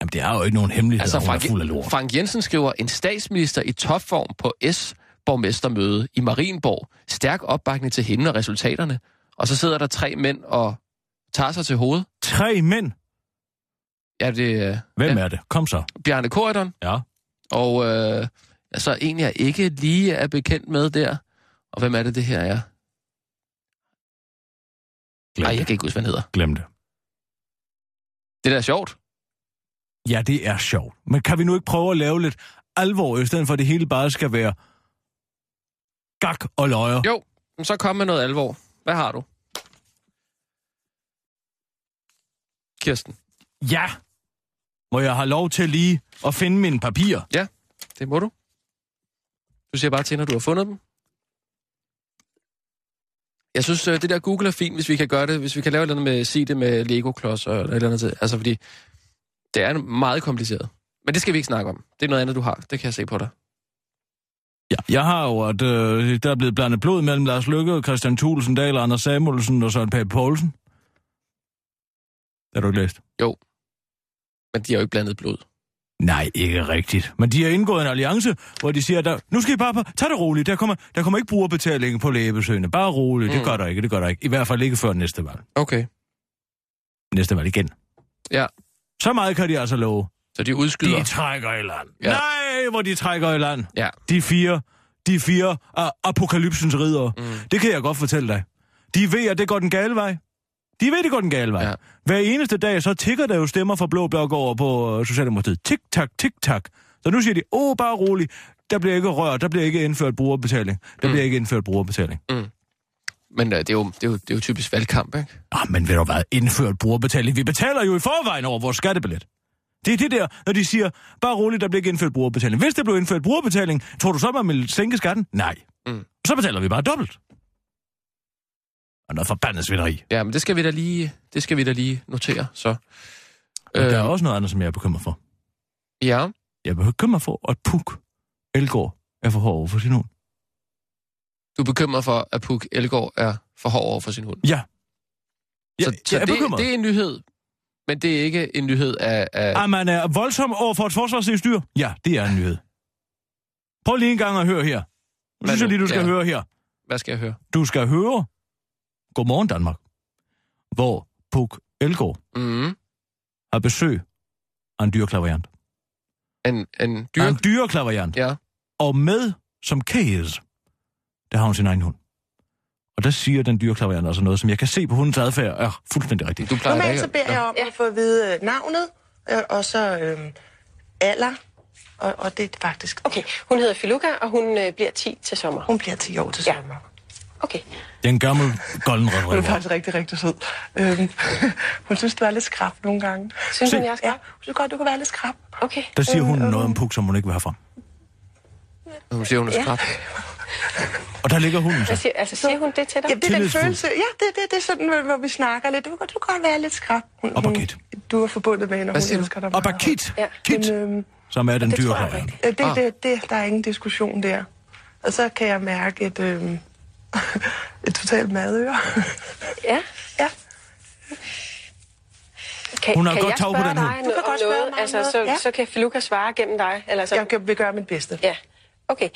S5: Jamen, det er jo ikke nogen hemmelighed, altså, hun er fuld af lort.
S4: Frank Jensen skriver, en statsminister i topform på S-borgmestermøde i Marienborg. Stærk opbakning til hende og resultaterne. Og så sidder der tre mænd og tager sig til hovedet.
S5: Tre mænd.
S4: Ja, det er
S5: Hvem
S4: Ja.
S5: ja. er det? Kom så.
S4: Bjarne Korydon
S5: Ja.
S4: og øh, altså en, jeg ikke lige er bekendt med der. Og hvem er det, det her er?
S5: Glem
S4: Nej, jeg
S5: det.
S4: kan ikke huske, hvad han hedder.
S5: Glem det.
S4: Det der er sjovt.
S5: Ja, det er sjovt. Men kan vi nu ikke prøve at lave lidt alvor, i stedet for at det hele bare skal være gak og løjer?
S4: Jo, men så kom med noget alvor. Hvad har du? Kirsten,
S5: Ja. Må jeg have lov til lige at finde mine papirer?
S4: det må du. Du siger bare til, når du har fundet dem. Jeg synes, øh, det der Google er fint, hvis vi kan gøre det. Hvis vi kan lave et eller andet med, sige det med Lego-klodser eller et eller andet. til- Altså, fordi det er meget kompliceret. Men det skal vi ikke snakke om. Det er noget andet, du har. Det kan jeg se på dig.
S5: Ja. Jeg har jo, at øh, der er blevet blandet blod mellem Lars Lykke, Christian Thulesen Dahl, Anders Samuelsen og Søren Pape Poulsen. Det har du ikke læst?
S4: Men de har jo ikke blandet blod.
S5: Nej, ikke rigtigt. Men de har indgået en alliance, hvor de siger, der, nu skal I bare på, tag det roligt, der kommer, der kommer ikke brugerbetaling på lægebesøgene. Bare roligt, mm.
S4: Mm.
S5: det gør der ikke, det gør der ikke. I hvert fald ikke før næste valg.
S4: Okay.
S5: næste valg igen.
S4: Ja.
S5: Så meget kan de altså love.
S4: Så de
S5: De
S4: udskyder.
S5: trækker i land.
S4: Ja.
S5: Ja. Nej, hvor de trækker i land.
S4: Ja.
S5: De fire, de fire af apokalypsens ridere.
S4: Mm.
S5: Det kan jeg godt fortælle dig. De ved, at det går den gale vej. De ved, det går den gale vej.
S4: Ja.
S5: Ja. Hver eneste dag, så tigger der jo stemmer fra Blå Blok over på øh, Socialdemokratiet. Tik-tak, tik-tak. Så nu siger de, åh, bare rolig. Der bliver ikke rørt, der bliver ikke indført brugerbetaling. Der
S4: Mm.
S5: bliver ikke indført brugerbetaling.
S4: Men øh, det, er jo, det, er jo, det er jo typisk valgkamp, ikke?
S5: Ah, men ved du hvad, indført brugerbetaling. Vi betaler jo i forvejen over vores skattebillet. Det er det der, når de siger, bare roligt, der bliver ikke indført brugerbetaling. Hvis der blev indført brugerbetaling, tror du så, man ville sænke skatten? Nej.
S4: Mm.
S5: Mm. Så betaler vi bare dobbelt. Og noget forbandet svineri.
S4: Ja, men det skal vi da lige, det skal vi da lige notere, så.
S5: Øh. Der er
S4: Øh,
S5: også noget andet, som jeg er bekymret for.
S4: ja,
S5: Jeg er bekymret for, at Puk Elgård er for hård over for sin hund.
S4: du er bekymret for, at Puk Elgård er for hård over for sin hund.
S5: Ja. Jeg,
S4: så så
S5: jeg er
S4: det,
S5: bekymret.
S4: det er en nyhed, men det er ikke en nyhed af... af
S5: At Ah, man er voldsom over for et forsvarsudstyr? Ja, det er en nyhed. Prøv lige en gang at høre her. Nu
S4: Hvad
S5: synes jeg
S4: nu?
S5: lige, du skal
S4: Ja.
S5: ja. høre her.
S4: hvad skal jeg høre?
S5: du skal høre Godmorgen Danmark, hvor Puk Elgård
S4: Mm,
S5: har besøg af en dyrklaverant.
S4: En, en
S5: Dyr?
S4: dyr...
S5: En dyrklaverant.
S4: Ja.
S5: Og med som kædes, der har hun sin egen hund. Og der siger den dyrklaverant altså noget, som jeg kan se på hundens adfærd er fuldstændig rigtigt.
S4: Du plejer da
S7: Normalt
S4: ikke
S7: så
S4: at-
S7: beder jeg om at få at vide øh, navnet, øh, og så øh, alder, og, og det er faktisk...
S8: Okay, hun hedder Filuka, og hun øh, bliver 10 til sommer.
S7: Hun bliver 10 år til
S8: Ja.
S7: sommer.
S8: Okay.
S5: Den gamle golden
S7: Hun er
S5: retriever.
S7: faktisk rigtig, rigtig sød. Øhm, [LAUGHS] hun synes, du er lidt skrab nogle gange.
S8: Synes hun, jeg
S7: Ja,
S8: skal?
S7: hun synes godt, du kan være lidt skrab.
S8: Okay.
S5: Der siger hun noget om puk, som hun ikke vil have fra.
S4: Hun siger, hun er skrab.
S5: Og der ligger hunden
S8: Hvad
S5: så.
S8: siger, altså, siger hun det til dig?
S7: Ja, det er den
S5: Tillidsfuld.
S7: følelse. Ja, det, det, det er sådan, hvor- hvor vi snakker lidt. Du kan godt, du kan godt være lidt skrab. Hun,
S5: Op og
S7: hun-
S5: kit.
S7: Du er forbundet med hende, og
S4: Hvad
S7: hun
S4: siger du?
S7: elsker dig
S5: Og bare
S7: meget.
S5: Kit,
S8: Ja.
S5: Kit,
S7: Men, øhm,
S5: som er den
S8: det tror jeg
S5: dyrklaverant.
S8: ikke.
S7: Ja, Det,
S4: Ah.
S7: det, det, der er ingen diskussion der. Og så kan jeg mærke et, øh, [LAUGHS] et totalt madøre. [LAUGHS]
S8: Ja.
S7: ja.
S8: Kan,
S5: Hun har
S8: kan
S5: godt
S8: jeg
S5: tag på
S8: spørge
S5: den
S8: dig
S5: hund.
S8: noget
S7: Du kan
S8: om
S7: godt spørge
S8: noget?
S7: mig om
S8: altså,
S7: noget.
S8: Så,
S7: Ja.
S8: så kan Filuka svare gennem dig? Eller, så,
S7: Jeg kan- vil gøre mit bedste.
S8: Ja, okay.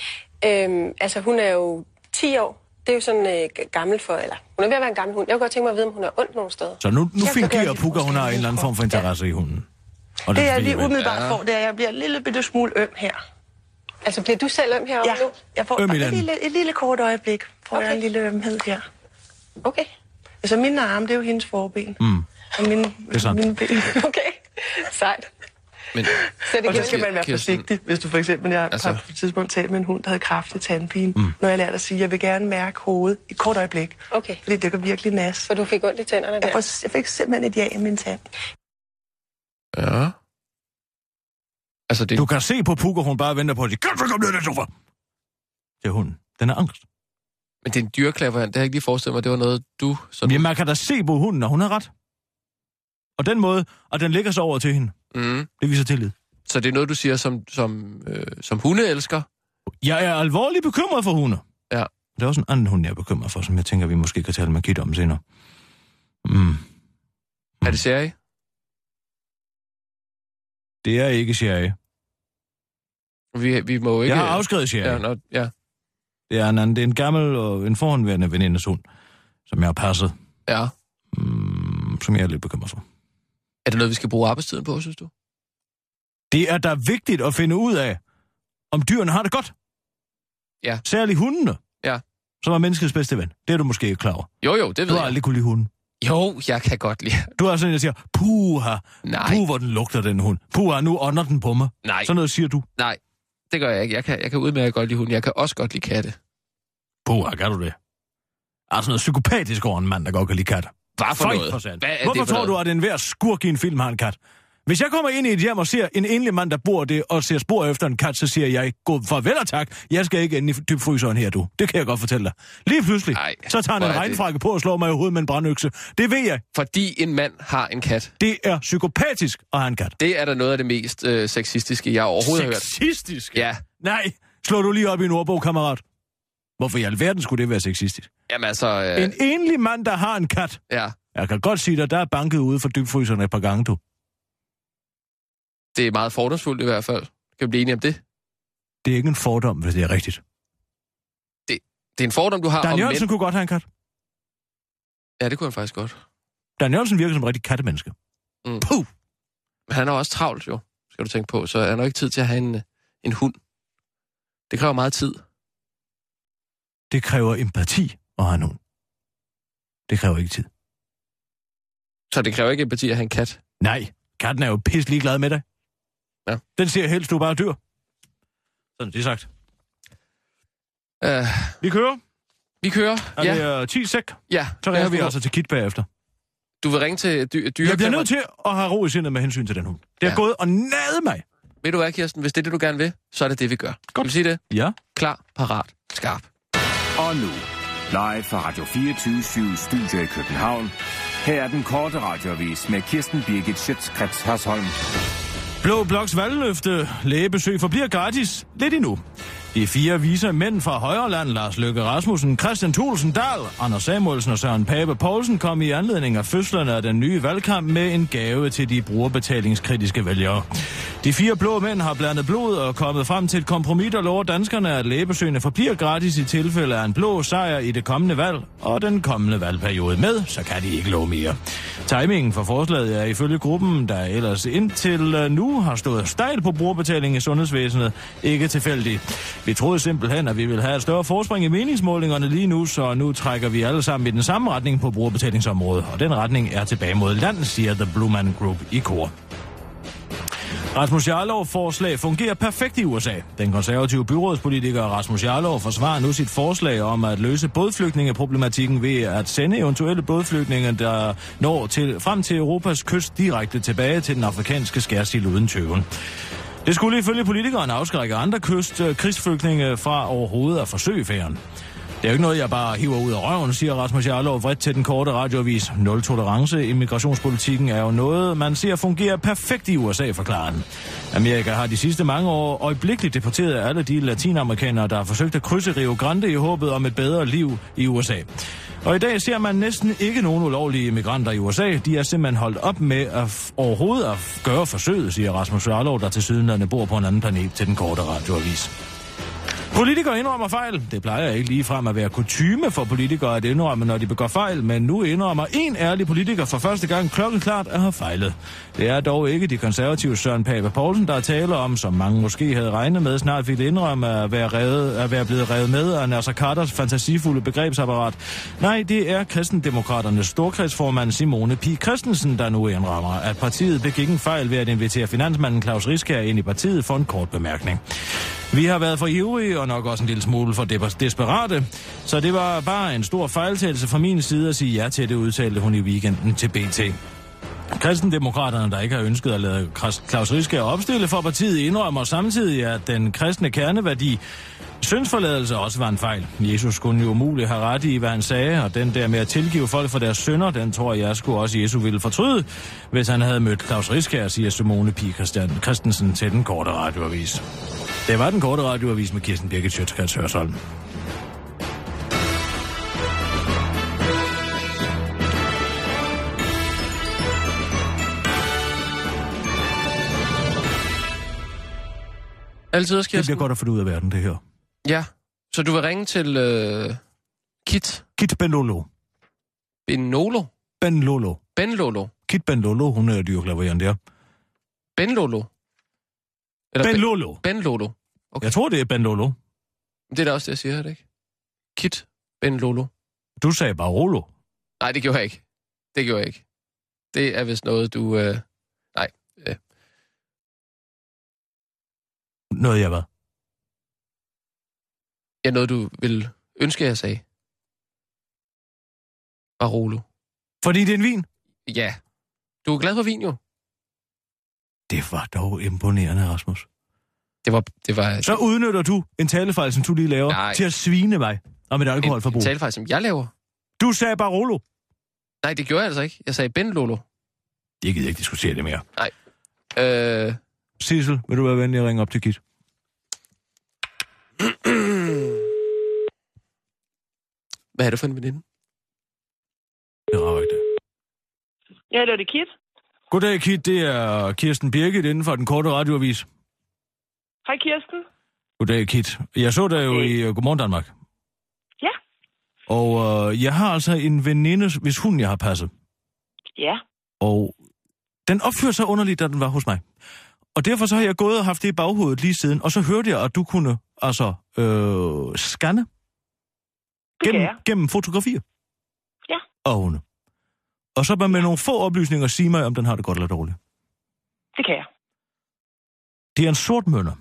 S8: Øhm, altså, hun er jo 10 år. Det er jo sådan øh, g- gammel for, eller hun er ved at være en gammel hund. Jeg kunne godt tænke mig at vide, om hun er ondt nogen steder.
S5: Så nu, nu
S7: Jeg
S5: fingiver
S7: kan godt
S5: Puka, hun har en eller anden form for interesse i hunden. Og det,
S7: Det
S5: er
S7: jeg lige
S5: fordi,
S7: umiddelbart ja. får, det er, at jeg bliver en lille bitte smule øm her.
S8: Altså, bliver du selv øm heroppe
S7: Ja,
S8: nu?
S7: jeg får
S5: Øm i
S7: et,
S5: den.
S7: lille, et lille kort øjeblik. Får okay.
S8: Okay.
S7: jeg en lille ømhed her.
S8: Okay. [LAUGHS]
S7: Altså mine arme, det er jo hendes forben. Mm. Og mine,
S5: er sandt.
S7: mine ben.
S8: Okay. Sejt.
S4: Men
S8: Så det
S7: Og så
S8: giver
S7: skal man være
S4: Kirsten-
S7: forsigtig, hvis du for eksempel, jeg
S4: Altså-
S7: altså... på et tidspunkt talte med en hund, der havde kraftig tandpine, mm. når jeg lærte at sige, at jeg vil gerne mærke hovedet i et kort øjeblik.
S8: Okay.
S7: Fordi det kan virkelig nas.
S8: for du fik ondt i tænderne
S7: Jeg,
S8: der.
S7: får, jeg fik simpelthen et ja i min tand.
S4: Ja. Altså, det,
S5: Du kan se på Puka, hun bare venter på at sige, kan du komme ned i den sofa? Det er hunden. Den er angst.
S4: men det er en dyrklaverant. Det har jeg ikke lige forestillet mig. Det var noget, du... Sådan,
S5: Men man kan da se på hunden, når hun har ret. Og den måde, og den ligger sig over til hende.
S4: mm.
S5: Det viser tillid.
S4: Så det er noget, du siger, som, som, øh, som hundeelsker.
S5: Jeg er alvorligt bekymret for hunde.
S4: Ja.
S5: Der er også en anden hund, jeg er bekymret for, som jeg tænker, vi måske kan tale med Kit om senere. Mm.
S4: Er det serie?
S5: Det er ikke serie.
S4: Vi, vi må jo ikke...
S5: Jeg har afskrevet serie.
S4: Ja, nå, ja.
S5: Det er en, anden, det er en gammel og en forhåndværende venindes hund, som jeg har passet,
S4: ja.
S5: mm, som jeg er lidt bekymret for.
S4: Er det noget, vi skal bruge arbejdstiden på, synes du?
S5: Det er da vigtigt at finde ud af, om dyrene har det godt.
S4: Ja.
S5: Særligt hundene.
S4: Ja.
S5: Som er menneskets bedste ven. Det er du måske ikke klar over.
S4: Jo, jo, det
S5: Du
S4: ved
S5: har
S4: jeg.
S5: aldrig kunne lide hunden.
S4: Jo, jeg kan godt lide...
S5: Du er sådan en, der siger, puha,
S4: Nej,
S5: puh, hvor den lugter, den hund. Puha, nu ånder den på mig.
S4: nej,
S5: Sådan noget siger du.
S4: nej. Det gør jeg ikke. Jeg kan, jeg kan udmærket godt lide hunden. Jeg kan også godt lide katte.
S5: Puha, gør du det? Altså noget psykopatisk over en mand, der godt kan lide katte.
S4: Hvad for
S5: Føj
S4: noget?
S5: sandt.
S4: Hvad er det
S5: Hvorfor
S4: for
S5: tror
S4: noget?
S5: du, at enhver skurk i en film har en kat? Hvis jeg kommer ind i et hjem og ser en enlig mand, der bor det, og ser spor efter en kat, så siger jeg, god farvel og tak, jeg skal ikke ind i dybfryseren her, du. Det kan jeg godt fortælle dig. Lige pludselig,
S4: Ej,
S5: så tager
S4: hvor
S5: han
S4: er det-
S5: en regnfrakke på og slår mig i hovedet med en brandøkse. Det ved jeg.
S4: Fordi en mand har en kat.
S5: Det er psykopatisk at have en kat.
S4: Det er da noget af det mest øh, sexistiske, jeg overhovedet har hørt.
S5: Sexistisk?
S4: Ja,
S5: Nej, slå du lige op i en ordbog, kammerat. Hvorfor i alverden skulle det være sexistisk?
S4: jamen altså... Øh,
S5: En enlig mand, der har en kat.
S4: Ja,
S5: Jeg kan godt sige dig, der er banket ude for dybfryseren et par gange, du.
S4: det er meget fordomsfuldt i hvert fald. Kan vi blive enige om det?
S5: Det er ikke en fordom, hvis det er rigtigt.
S4: Det er en fordom, du har
S5: Dan
S4: om
S5: Jørgensen
S4: mænd.
S5: kunne godt have en kat.
S4: Ja, det kunne han faktisk godt.
S5: Dan Jørgensen virker som en rigtig kattemenneske.
S4: Mm.
S5: Puh!
S4: Men han er jo også travlt, jo, skal du tænke på. Så er der ikke tid til at have en, øh, en hund. Det kræver meget tid.
S5: Det kræver empati at have en hund. Det kræver ikke tid.
S4: Så det kræver ikke empati at have en kat.
S5: Nej, katten er jo pisselig glad med dig.
S4: Ja.
S5: Den ser helst, du bare dyr. Sådan, det er sagt.
S4: Uh,
S5: Vi kører,
S4: vi kører.
S5: og ja. det
S4: Ja,
S5: er 10 sæk.
S4: ja.
S5: Så ringer vi altså til Kit bagefter.
S4: Du vil ringe til dy- dyre...
S5: Jeg bliver nødt til at have ro i sindet med hensyn til den hund. Det er
S4: Ja.
S5: ja. gået og nade mig.
S4: Ved du hvad, Kirsten? Hvis det er det, du gerne vil, så er det det, vi gør. Godt. Kan vi sige det?
S5: Ja.
S4: Klar, parat, skarp.
S6: Og nu, live fra Radio 24 Studio i København. Her er den korte radiovis med Kirsten Birgit Schøtzgrads Hasholm.
S5: Blå Bloks valgløfte lægebesøg forbliver gratis lidt endnu. De fire vise mænd fra Højreland, Lars Løkke Rasmussen, Christian Thulsen Dahl, Anders Samuelsen og Søren Pape Poulsen kom i anledning af fødslerne af den nye valgkamp med en gave til de brugerbetalingskritiske vælgere. De fire blå mænd har blandet blod og kommet frem til et kompromis, der lover danskerne, at lægebesøgene forbliver gratis i tilfælde af en blå sejr i det kommende valg, og den kommende valgperiode med, så kan de ikke love mere. Timingen for forslaget er ifølge gruppen, der ellers indtil øh, nu har stået stejl på brugerbetaling i sundhedsvæsenet, ikke tilfældig. Vi troede simpelthen, at vi ville have et større forspring i meningsmålingerne lige nu, så nu trækker vi alle sammen i den samme retning på brugerbetalingsområdet, og den retning er tilbage mod land, siger The Blue Man Group i kor. Rasmus Jarlov forslag fungerer perfekt i USA. Den konservative byrådspolitiker Rasmus Jarlov forsvarer nu sit forslag om at løse bådflygtningeproblematikken ved at sende eventuelle bådflygtninge, der når til, frem til Europas kyst direkte tilbage til den afrikanske skærsild uden tøven. Det skulle ifølge politikeren afskrække andre kyst øh, krigsflygtninge fra overhovedet at forsøge færen. Det er jo ikke noget, jeg bare hiver ud af røven, siger Rasmus Jarlov vredt til den korte radioavis. Nul tolerance i migrationspolitikken er jo noget, man ser fungerer perfekt i USA, forklarer han. Amerika har de sidste mange år øjeblikkeligt deporteret alle de latinamerikanere, der har forsøgt at krydse Rio Grande i håbet om et bedre liv i USA. Og i dag ser man næsten ikke nogen ulovlige migranter i USA. De er simpelthen holdt op med at f- overhovedet at f- gøre forsøget, siger Rasmus Jarlov, der til sydenlande bor på en anden planet til den korte radioavis. Politikere indrømmer fejl. Det plejer ikke ligefrem at være kutyme for politikere at indrømme, når de begår fejl, men nu indrømmer en ærlig politiker for første gang klokkeklart at have fejlet. Det er dog ikke de konservative Søren Pape Poulsen, der taler om, som mange måske havde regnet med, snart ville indrømme at være, reddet, at være blevet revet med af Nasser Carters fantasifulde begrebsapparat. Nej, det er kristendemokraternes storkredsformand Simone P. Christensen, der nu indrømmer, at partiet begik en fejl ved at invitere finansmanden Claus Riskær ind i partiet for en kort bemærkning. Vi har været for ivrige og nok også en lille smule for des- desperate, så det var bare en stor fejltagelse fra min side at sige ja til det, udtalte hun i weekenden til BT. Kristendemokraterne, der ikke har ønsket at lade Kras- Claus Riske opstille for partiet, indrømmer samtidig, at den kristne kerneværdi Syndsforladelse også var en fejl. Jesus kunne jo umuligt have ret i, hvad han sagde, og den der med at tilgive folk for deres synder, den tror jeg skulle også Jesu ville fortryde, hvis han havde mødt Claus Riskær, siger Simone P. Christian- Christensen til den korte radioavis. Det var den korte radioavis med Kirsten Birgit Sjøtskrets Hørsholm.
S4: Altid også,
S5: Det
S4: Kirsten.
S5: bliver godt at få det ud af verden, det her.
S4: Ja. Så du vil ringe til øh, Kit
S5: Kit Benlolo.
S4: Benolo?
S5: Benlolo.
S4: Benlolo?
S5: Kit Benlolo, hun er dyrklaveren der.
S4: Benlolo? Eller Ben-
S5: Benlolo.
S4: Benlolo.
S5: Jeg tror, det er Benlolo.
S4: Det er da også det, jeg siger, er det ikke? Kit Benlolo.
S5: Du sagde bare Rolo.
S4: Nej, det gjorde jeg ikke. Det gjorde jeg ikke. Det er vist noget, du... Øh... Nej. Øh.
S5: Noget jeg var.
S4: Ja, noget, du ville ønske, jeg sagde. Barolo.
S5: Fordi det er en vin.
S4: Ja. Du er glad for vin, jo.
S5: Det var dog imponerende, Rasmus.
S4: Det var... Det var
S5: Så udnytter du en talefejl, som du lige laver,
S4: Nej.
S5: til at svine mig om et alkoholforbrug.
S4: en talefejl, som jeg laver.
S5: Du sagde bare Rolo.
S4: Nej, det gjorde jeg altså ikke. Jeg sagde Benlolo.
S5: Det gider jeg ikke diskutere det mere.
S4: Øh...
S5: Sissel, vil du være venlig at ringe op til Kit?
S4: Hvad er det for en veninde?
S5: Det rager ikke det.
S2: Ja, det er det Kit.
S5: Goddag, Kit. Det er Kirsten Birgit inden for den korte radioavis.
S2: Hej Kirsten.
S5: Goddag, Kit. Jeg så dig jo i øh, Godmorgen Danmark.
S2: Ja.
S5: Og øh, jeg har altså en veninde, hvis hun jeg har passet.
S2: Ja.
S5: Og den opførte sig underligt, da den var hos mig. Og derfor så har jeg gået og haft det i baghovedet lige siden, og så hørte jeg, at du kunne altså øh, scanne
S2: kan
S5: gennem,
S2: jeg.
S5: gennem fotografier.
S2: Ja.
S5: Og hunde. Og så bare med nogle få oplysninger sige mig, om den har det godt eller dårligt.
S2: Det kan jeg.
S5: Det er en sort mønner.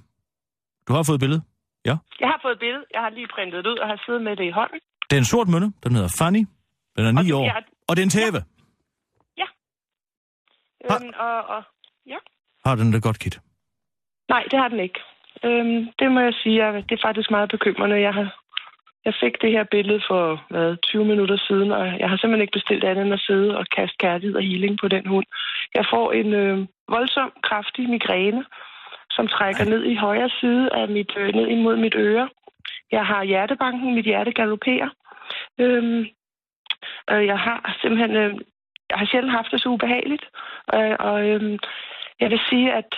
S5: Du har fået et billede.
S2: Jeg har fået et billede. Jeg har lige printet det ud og har siddet med det i hånden.
S5: Det er en sort mønne. Den hedder Fanny. Den er 9
S2: og
S5: år.
S2: Jeg,
S5: Og det er en tæve.
S2: øhm, og, og,
S5: Har den det godt, Kit?
S2: nej, det har den ikke. Øhm, det må jeg sige, at det er faktisk meget bekymrende. Jeg har jeg fik det her billede for hvad, 20 minutter siden, og jeg har simpelthen ikke bestilt andet end at sidde og kaste kærlighed og healing på den hund. Jeg får en øh, voldsom, kraftig øhm, migræne, som trækker ned i højre side af mit, øh, ned imod mit øre. Jeg har hjertebanken, mit hjerte galopperer. Øhm, øh, jeg har simpelthen, øh, jeg har sjældent haft det så ubehageligt. Øh, og øh, jeg vil sige, at,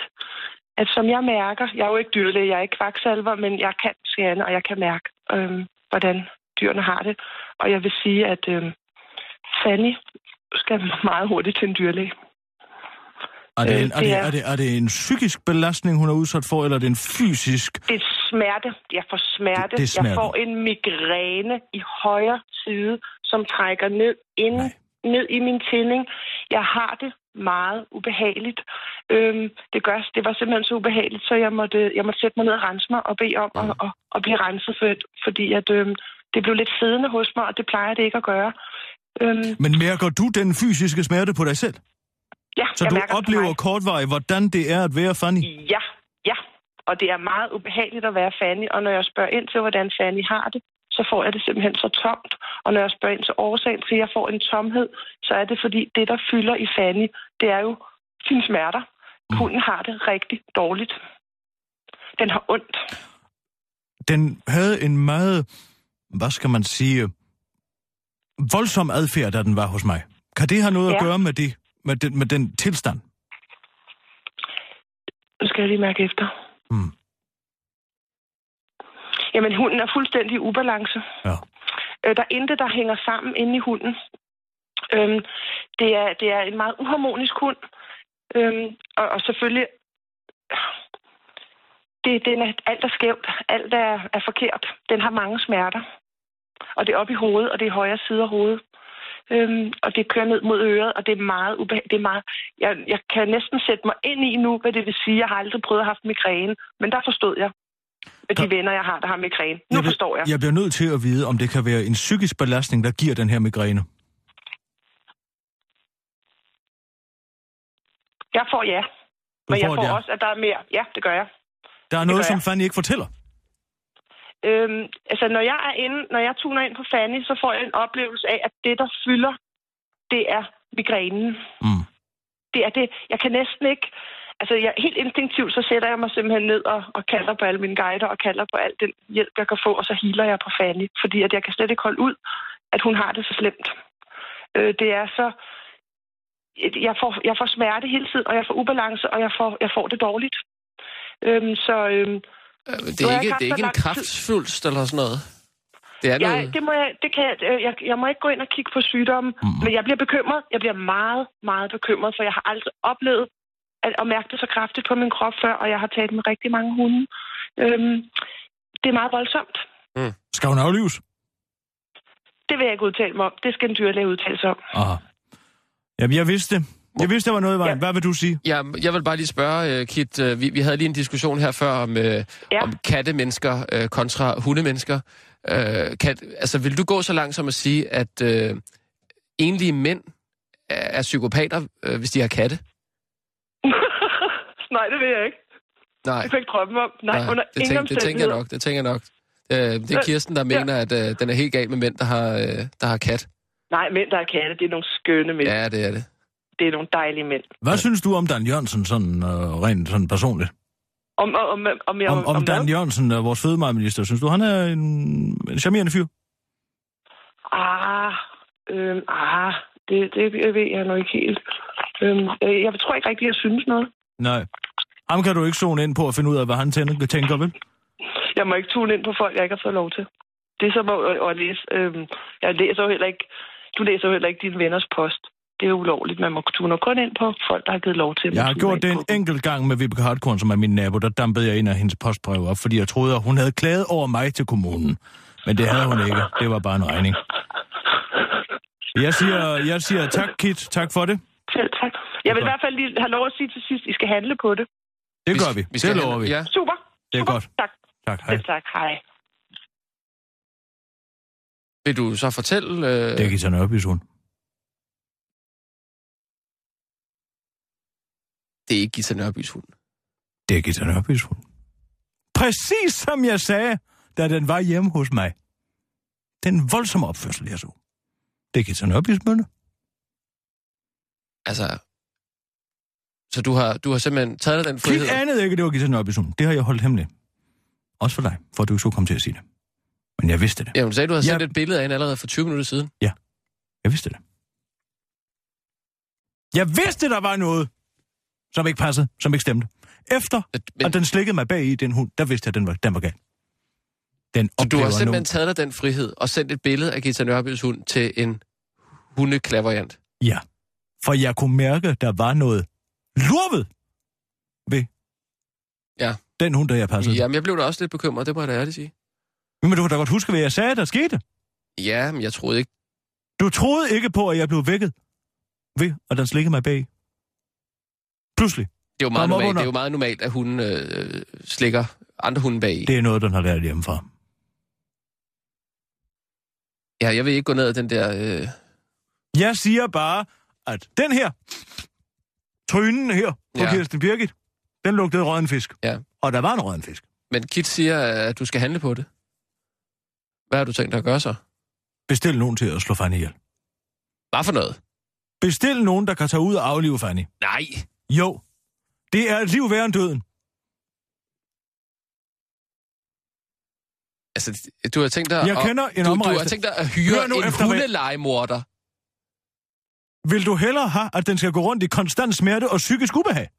S2: at som jeg mærker, jeg er jo ikke dyrlæge, jeg er ikke kvaksalver, men jeg kan skære, og jeg kan mærke, øh, hvordan dyrene har det. Og jeg vil sige, at øh, Fanny skal meget hurtigt til en dyrlæge.
S5: Er det,
S2: Øh,
S5: en, er,
S2: det
S5: det,
S2: er-
S5: er, det, er det en psykisk belastning, hun er udsat for, eller er det en fysisk?
S2: Det er smerte. Jeg får smerte.
S5: Det- det er smerte.
S2: Jeg får en migræne i højre side, som trækker ned, ind, ned i min tænding. Jeg har det meget ubehageligt. Øhm, det, gør, det var simpelthen så ubehageligt, så jeg måtte, jeg måtte sætte mig ned og rense mig og bede om at, at, at blive renset, for, fordi at, øhm, det blev lidt siddende hos mig, og det plejer det ikke at gøre. Øhm,
S5: Men mærker du den fysiske smerte på dig selv?
S2: ja,
S5: Så
S2: jeg
S5: du
S2: mærker det på
S5: oplever
S2: mig.
S5: kortvarigt, hvordan det er at være Fanny?
S2: Ja, ja. Og det er meget ubehageligt at være Fanny, og når jeg spørger ind til, hvordan Fanny har det, så får jeg det simpelthen så tomt. Og når jeg spørger ind til årsagen til, at jeg får en tomhed, så er det fordi, det der fylder i Fanny, det er jo sine smerter. Hunden har det rigtig dårligt. Den har ondt.
S5: Den havde en meget, hvad skal man sige, voldsom adfærd, da den var hos mig. Kan det have noget at
S2: Ja.
S5: gøre med, det, med, den, med den tilstand?
S2: Nu skal jeg lige mærke efter.
S5: Mm.
S2: Jamen, hunden er fuldstændig i ubalance.
S5: Ja.
S2: Øh, der er intet, der hænger sammen inde i hunden. Øhm, det, er, det er en meget uharmonisk hund. Øhm, og, og selvfølgelig... Det, den er, alt er skævt. Alt er, er forkert. Den har mange smerter. Og det er oppe i hovedet, og det er i højre side af hovedet. Øhm, og det kører ned mod øret, og det er meget ubehageligt. Det er meget... Jeg, jeg kan næsten sætte mig ind i nu, hvad det vil sige. Jeg har aldrig prøvet at have haft migræne, men der forstod jeg. Med de venner, jeg har, der har migræne. Nu
S5: bliver-
S2: forstår jeg.
S5: Jeg bliver nødt til at vide, om det kan være en psykisk belastning, der giver den her migræne.
S2: Jeg får ja.
S5: Du
S2: Men jeg
S5: får et
S2: får
S5: ja.
S2: også, at der er mere. Ja, det gør jeg.
S5: Der er noget,
S2: gør
S5: som
S2: jeg.
S5: Fanny ikke fortæller.
S2: Øhm, altså, når jeg er inde, når jeg tuner ind på Fanny, så får jeg en oplevelse af, at det, der fylder, det er migrænen.
S5: Mm.
S2: Det er det. Jeg kan næsten ikke... Altså, jeg, helt instinktivt, så sætter jeg mig simpelthen ned og, og kalder på alle mine guider og kalder på al den hjælp, jeg kan få, og så healer jeg på Fanny. Fordi at jeg kan slet ikke holde ud, at hun har det så slemt. Øh, det er så... Jeg får, jeg får smerte hele tiden, og jeg får ubalance, og jeg får, jeg får det dårligt. Øhm, så øhm,
S4: Øh, Det
S2: Nu har
S4: er
S2: jeg
S4: ikke, det er
S2: ikke haft
S4: ikke en
S2: så lang tid.
S4: kraftfuldt eller sådan noget. Det er
S2: jeg,
S4: noget...
S2: det må jeg, det kan jeg, øh, jeg, jeg må ikke gå ind og kigge på sygdommen, mm. men jeg bliver bekymret. Jeg bliver meget, meget bekymret, for jeg har aldrig oplevet at, at mærke det så kraftigt på min krop før, og jeg har talt med rigtig mange hunde. Øhm, det er meget voldsomt.
S5: Skal hun aflives?
S2: Det vil jeg ikke udtale mig om. Det skal en dyrlæge udtale sig om.
S5: Aha. Jamen, jeg vidste det. Jeg vidste, der var noget i vejen.
S2: Ja.
S5: Hvad vil du sige?
S4: Ja, jeg vil bare lige spørge, øh, Kit, øh, vi, vi havde lige en diskussion her før om, øh,
S2: Ja.
S4: om kattemennesker øh, kontra hundemennesker. Øh, kat, altså, vil du gå så langt som at sige, at øh, enlige mænd er, er psykopater, øh, hvis de har katte?
S2: [LAUGHS] Nej, det vil jeg ikke.
S4: Nej,
S2: Det kan jeg ikke drømme om. Nej,
S4: nej
S2: under
S4: det,
S2: ingen
S4: det tænker jeg
S2: omstændigheder.
S4: nok, det tænker jeg nok. Øh, det er
S2: Øh,
S4: Kirsten, der
S2: ja.
S4: mener, at øh, den er helt gal med mænd, der har, øh, der har kat.
S2: Nej, mænd, der er katte, det er nogle skønne mænd. Ja.
S4: Ja, det er det.
S2: Det er nogle dejlige mænd.
S5: Hvad synes du om Dan Jørgensen, sådan øh, rent sådan personligt?
S2: Om, om, om, om, jeg-
S5: Om, om
S2: hvad?
S5: Dan Jørgensen, øh, vores fødevareminister, synes du, han er en, en charmerende fyr?
S2: Ah, øhm, ah, det, det ved jeg nu ikke helt. Øhm, øh, jeg tror ikke rigtig, jeg synes noget.
S5: Nej. Ham kan du ikke zone ind på at finde ud af, hvad han tænker, tænker vel?
S2: Jeg må ikke tune ind på folk, jeg ikke har fået lov til. Det er som at, at, at læse... Øhm, jeg læser jo heller ikke... Du læser jo heller ikke dine venners post. Det er ulovligt. Man må tune kun ind på folk, der har givet lov til. at man
S5: Jeg har
S2: tuner
S5: gjort
S2: ind
S5: det
S2: på
S5: en
S2: dem.
S5: enkelt gang med Vibeke Hartkorn, som er min nabo. Der dampede jeg en af hendes postbreve op, fordi jeg troede, at hun havde klaget over mig til kommunen. Men det havde hun ikke. Det var bare en regning. Jeg siger, jeg siger tak, Kit. Tak for det.
S2: [LAUGHS] Selv tak. Jeg vil i hvert fald lige have lov at sige til sidst, I skal handle på det.
S5: Det gør vi. vi det lover vi.
S4: Ja.
S2: Super.
S5: Det er
S2: Super.
S5: godt.
S2: Tak.
S5: Tak, hej.
S2: Selv tak. Hej.
S4: Vil du så fortælle... Øh,
S5: Det er Gita Nørbys hund.
S4: det er ikke Gita Nørbys hund.
S5: Det er Gita Nørbys hund. Præcis som jeg sagde, da den var hjemme hos mig. Den voldsomme opførsel, jeg så. Det er Gita Nørbys mølle.
S4: Altså, Så du har, du har simpelthen taget dig den frihed?
S5: Klit anede ikke, det var Gita Nørbysund. Det har jeg holdt hemmeligt. Også for dig, for at du ikke skulle komme til at sige det. Men jeg vidste det.
S4: Jamen, du sagde, du havde sendt
S5: Ja.
S4: et billede af hende allerede for 20 minutter siden.
S5: Jeg vidste det. Jeg vidste, der var noget, som ikke passede, som ikke stemte. Efter,
S4: Men-
S5: men... at den slikkede mig bag i den hund, der vidste jeg, at den var, den var gal. Den
S4: Så du har
S5: oplever
S4: simpelthen
S5: nogen-
S4: taget dig den frihed og sendt et billede af Gita Nørbys hund til en hundeklaverjant.
S5: Ja, for jeg kunne mærke, der var noget lurvet ved
S4: Ja.
S5: den hund, der jeg passede. Ja.
S4: Jamen, jeg blev da også lidt bekymret, det må jeg da ærligt sige.
S5: Men du kan da godt huske, hvad jeg sagde, der skete.
S4: Ja, men jeg troede ikke.
S5: Du troede ikke på, at jeg blev vækket ved, at den slikkede mig bag. Pludselig.
S4: Det er jo meget,
S5: Kom op
S4: normalt,
S5: under.
S4: det er jo meget normalt, at hunden øh, slikker andre hunde bag i.
S5: Det er noget, den har lært hjemmefra.
S4: Ja, jeg vil ikke gå ned ad den der... Øh...
S5: Jeg siger bare, at den her, trynen her på
S4: Ja.
S5: ja. Kirsten Birgit, den lugtede rødden fisk.
S4: Ja.
S5: Og der var en rødden fisk.
S4: Men Kit siger, at du skal handle på det. Hvad har du tænkt dig at gøre så?
S5: Bestil nogen til at slå Fanny ihjel.
S4: Hvad for noget?
S5: Bestil nogen, der kan tage ud og aflive Fanny.
S4: Nej.
S5: Jo, det er et liv værre end døden.
S4: Altså, du har tænkt dig...
S5: Jeg
S4: at-
S5: kender en
S4: du, du har
S5: omrejsende.
S4: tænkt dig at
S5: Hør
S4: hyre
S5: nu
S4: en
S5: efter, hvad-
S4: hundelegemorder.
S5: Vil du hellere have, at den skal gå rundt i konstant smerte og psykisk ubehag?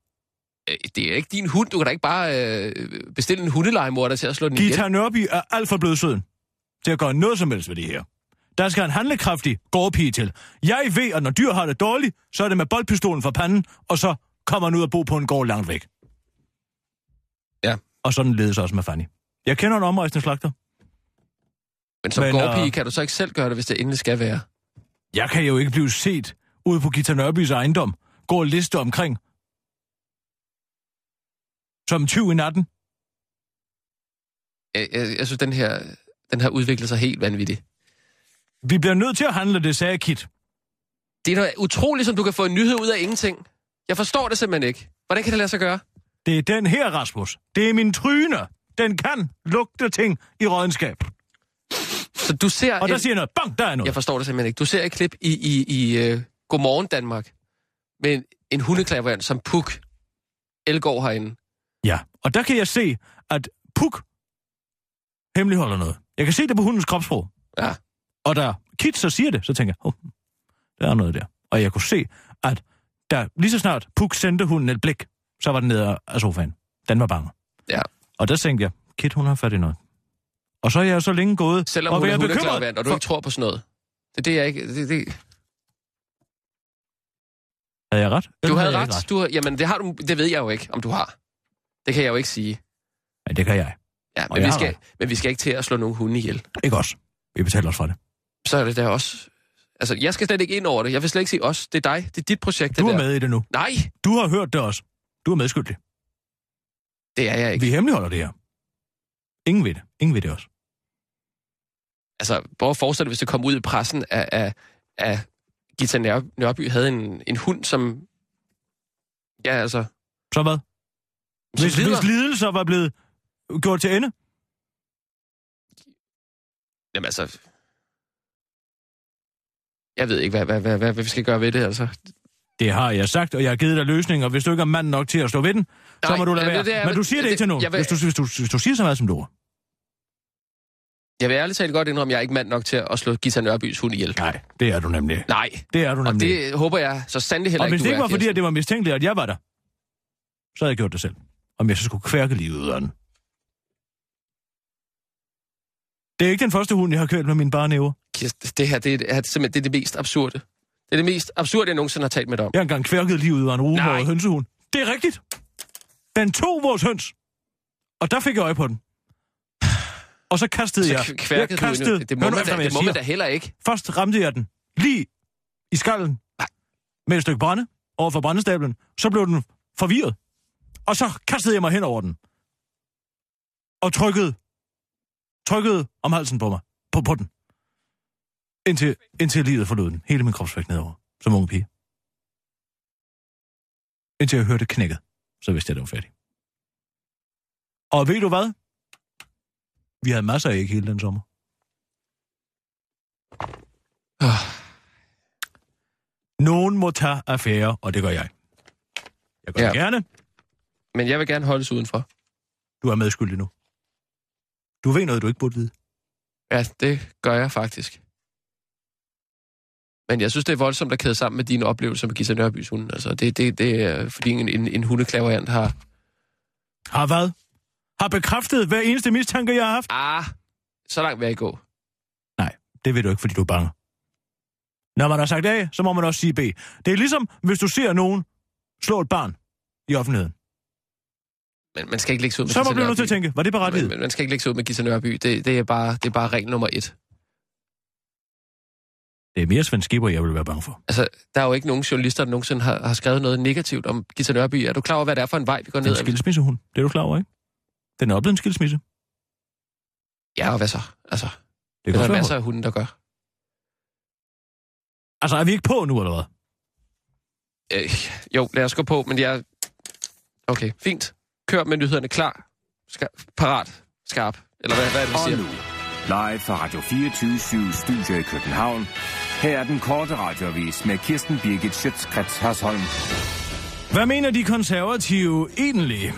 S4: Øh, Det er ikke din hund. Du kan da ikke bare øh, bestille en hundelegemorder til at slå den ihjel.
S5: Gita Nørby er alt for blødsøden til at gøre noget som helst ved det her. Der skal en handlekraftig gårdpige til. Jeg ved, at når dyr har det dårligt, så er det med boldpistolen for panden, og så kommer han ud og bo på en gård langt væk.
S4: Ja.
S5: Og sådan ledes også med Fanny. Jeg kender en omrejsende slagter.
S4: Men som
S5: Men,
S4: gårdpige
S5: øh,
S4: kan du så ikke selv gøre det, hvis det endelig skal være.
S5: Jeg kan jo ikke blive set ude på Gita Nørbys ejendom, gå og liste omkring. Som 20 i natten.
S4: Jeg, jeg, jeg synes, den her, den har udviklet sig helt vanvittigt.
S5: Vi bliver nødt til at handle det, sagde Kit.
S4: Det er da utroligt, som du kan få en nyhed ud af ingenting. Jeg forstår det simpelthen ikke. Hvordan kan det lade sig gøre?
S5: Det er den her, Rasmus. Det er min tryne. Den kan lugte ting i rådenskab.
S4: Så du ser...
S5: Og der
S4: en-
S5: siger jeg noget. Bang, der er noget.
S4: Jeg forstår det simpelthen ikke. Du ser et klip i, i, i uh, Godmorgen Danmark med en, en hundeklaverant som Puk Elgård herinde.
S5: Ja, og der kan jeg se, at Puk hemmeligholder noget. Jeg kan se det på hundens kropsprog.
S4: Ja.
S5: Og da Kit så siger det, så tænker jeg, oh, der er noget der. Og jeg kunne se, at da lige så snart Puk sendte hunden et blik, så var den nede af sofaen. Den var bange.
S4: Ja.
S5: Og der tænkte jeg, Kit, hun har fat i noget. Og så er jeg jo så længe gået
S4: Selvom
S5: og
S4: hun er
S5: været
S4: hundeklaverant, og du
S5: for-
S4: ikke tror på sådan noget. Det er det, jeg ikke... Det, det.
S5: Havde jeg ret?
S4: Du
S5: Eller
S4: havde
S5: jeg ikke
S4: ret. Du, har- jamen, det, har du, det ved jeg jo ikke, om du har. Det kan jeg jo ikke sige.
S5: Ja, det kan jeg.
S4: Ja,
S5: Og
S4: men,
S5: jeg
S4: vi
S5: har
S4: skal, men vi skal ikke til at slå nogen hunde ihjel.
S5: Ikke os. Vi betaler os for det.
S4: Så er det der også... Altså, jeg skal slet ikke ind over det. Jeg vil slet ikke sige os. Det er dig. Det er dit projekt, det
S5: Du
S4: der.
S5: er med i det nu.
S4: Nej,
S5: Du har hørt det også. Du er medskyldig.
S4: det er jeg ikke.
S5: Vi hemmeligholder det her. Ingen ved det. Ingen ved det også.
S4: altså, prøv at forestille dig, hvis det kom ud i pressen, at, at, at Gita Nør- Nørby havde en, en hund, som... Ja, altså...
S5: Så hvad?
S4: Som
S5: Hvis,
S4: lider.
S5: hvis lidelser var blevet gjort til ende?
S4: Jamen, altså... Jeg ved ikke, hvad, hvad, hvad, hvad, hvad vi skal gøre ved det, altså.
S5: Det har jeg sagt, og jeg har givet dig løsninger. Hvis du ikke er mand nok til at stå ved den, så
S4: Nej,
S5: må du lade
S4: ja,
S5: være.
S4: det- det er-
S5: Men du siger det,
S4: det-
S5: ikke til nogen.
S4: jeg vil-
S5: Hvis, du, hvis, du, hvis du siger så meget som du er.
S4: Jeg vil ærligt talt godt indrømme, at jeg er ikke mand nok til at slå Gita Nørbys hund ihjel.
S5: Nej, det er du nemlig.
S4: Nej,
S5: Det er du
S4: og
S5: nemlig. ikke.
S4: det håber jeg så sandelig heller
S5: og hvis
S4: ikke,
S5: det ikke
S4: du
S5: var
S4: er,
S5: fordi, at det var mistænkeligt, at jeg var der, så havde jeg gjort det selv. Om jeg så skulle kværke livet ud af den. Det er ikke den første hund, jeg har kørt med mine bare næver.
S4: Kirsten. Det her, det er, det er simpelthen det, er det mest absurde. Det er det mest absurde, jeg nogensinde har talt med dig om.
S5: Jeg har engang kværket livet ud af en
S4: Nej.
S5: ruhåret hønsehund. Det er rigtigt. Den tog vores høns. Og der fik jeg øje på den. Og så kastede
S4: Så
S5: jeg.
S4: kv- kværkede
S5: jeg
S4: du
S5: kastede.
S4: endnu. Det må,
S5: Hør nu
S4: man
S5: efter,
S4: da,
S5: hvad
S4: det
S5: jeg
S4: må man da
S5: siger.
S4: heller ikke.
S5: Først ramte jeg den lige i skallen med et stykke brænde over for brændestablen. Så blev den forvirret. Og så kastede jeg mig hen over den. Og trykkede, trykkede om halsen på mig. På, på den. Indtil, indtil livet forlod den. Hele min kropsvægt nedover. Som ung pige. Indtil jeg hørte knækket. Så vidste jeg, det var færdig. Og ved du hvad? Vi havde masser af æg hele den sommer.
S4: Ah.
S5: Nogen må tage affære, og det gør jeg. Jeg gør ja. det
S4: Ja.
S5: gerne.
S4: Men jeg vil gerne holdes udenfor.
S5: Du er medskyldig nu. Du ved noget, du ikke burde vide.
S4: Ja, det gør jeg faktisk. Men jeg synes, det er voldsomt at kæde sammen med dine oplevelser med Gita Nørbys hunden. Altså, det, det, det er, fordi en, en, en hundeklaverant har...
S5: Har hvad? Har bekræftet hver eneste mistanke, jeg har haft?
S4: Ah, så langt vil jeg ikke gå.
S5: Det ved du ikke, fordi du er bange. Når man har sagt A, så må man også sige B. Det er ligesom, hvis du ser nogen slå et barn i offentligheden.
S4: Men man skal ikke lægge sig ud med
S5: Så må
S4: Ghita
S5: man blive nødt til
S4: Nørby.
S5: at tænke, var det
S4: Men,
S5: berettiget?
S4: men man skal ikke lægge sig ud med Gita Nørby. Det, det, er bare, det er bare regel nummer et.
S5: Det er mere Svend Skipper, jeg vil være bange for.
S4: Altså, der er jo ikke nogen journalister, der nogensinde har, har skrevet noget negativt om Gita Nørby. Er du klar over, hvad det er for en vej, vi går
S5: Det er
S4: ned?
S5: en
S4: ad?
S5: skilsmissehund. Det er du klar over, ikke? Den er oplevet en skilsmisse.
S4: Ja, og hvad så? Altså,
S5: Det
S4: der
S5: kan
S4: er
S5: også
S4: masser
S5: være.
S4: af hunden, der gør.
S5: Altså, er vi ikke på nu, eller hvad?
S4: Øh, jo, lad os gå på, men jeg... Okay, fint. Kør med nyhederne klar. Ska parat. Skarp. Eller hvad, hvad er det, vi
S6: Og
S4: siger?
S6: nu, live fra Radio 24 Studio i København. Her er den korte radiovis med Kirsten Birgit Schøtzgrads Hasholm.
S5: Hvad mener de konservative egentlig?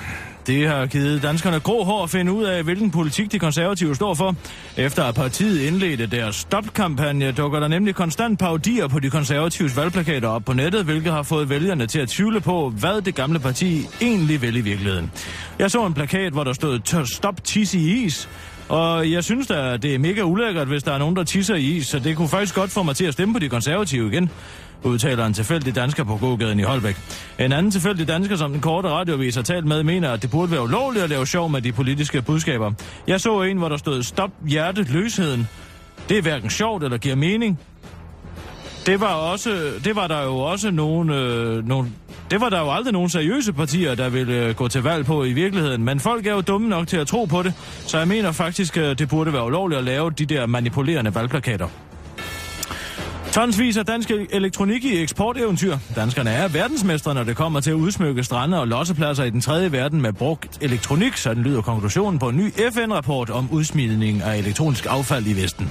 S5: Det har givet danskerne grå hår at finde ud af, hvilken politik de konservative står for. Efter at partiet indledte deres stopkampagne, dukker der nemlig konstant paudier på de konservatives valgplakater op på nettet, hvilket har fået vælgerne til at tvivle på, hvad det gamle parti egentlig vil i virkeligheden. Jeg så en plakat, hvor der stod "Tør- Stop tisse i is, og jeg synes da, det er mega ulækkert, hvis der er nogen, der tisser i is, så det kunne faktisk godt få mig til at stemme på de konservative igen udtaler en tilfældig dansker på gågaden i Holbæk. En anden tilfældig dansker, som den korte radiovis har talt med, mener, at det burde være ulovligt at lave sjov med de politiske budskaber. Jeg så en, hvor der stod, stop hjerteløsheden. Det er hverken sjovt eller giver mening. Det var, også, det var der jo også nogle, øh, nogle... Det var der jo aldrig nogle seriøse partier, der ville øh, gå til valg på i virkeligheden. Men folk er jo dumme nok til at tro på det, så jeg mener faktisk, øh, det burde være ulovligt at lave de der manipulerende valgplakater. Tonsvis af dansk elektronik i eksporteventyr. Danskerne er verdensmestre, når det kommer til at udsmykke strande og lossepladser i den tredje verden med brugt elektronik, sådan lyder konklusionen på en ny FN-rapport om udsmidning af elektronisk affald i Vesten.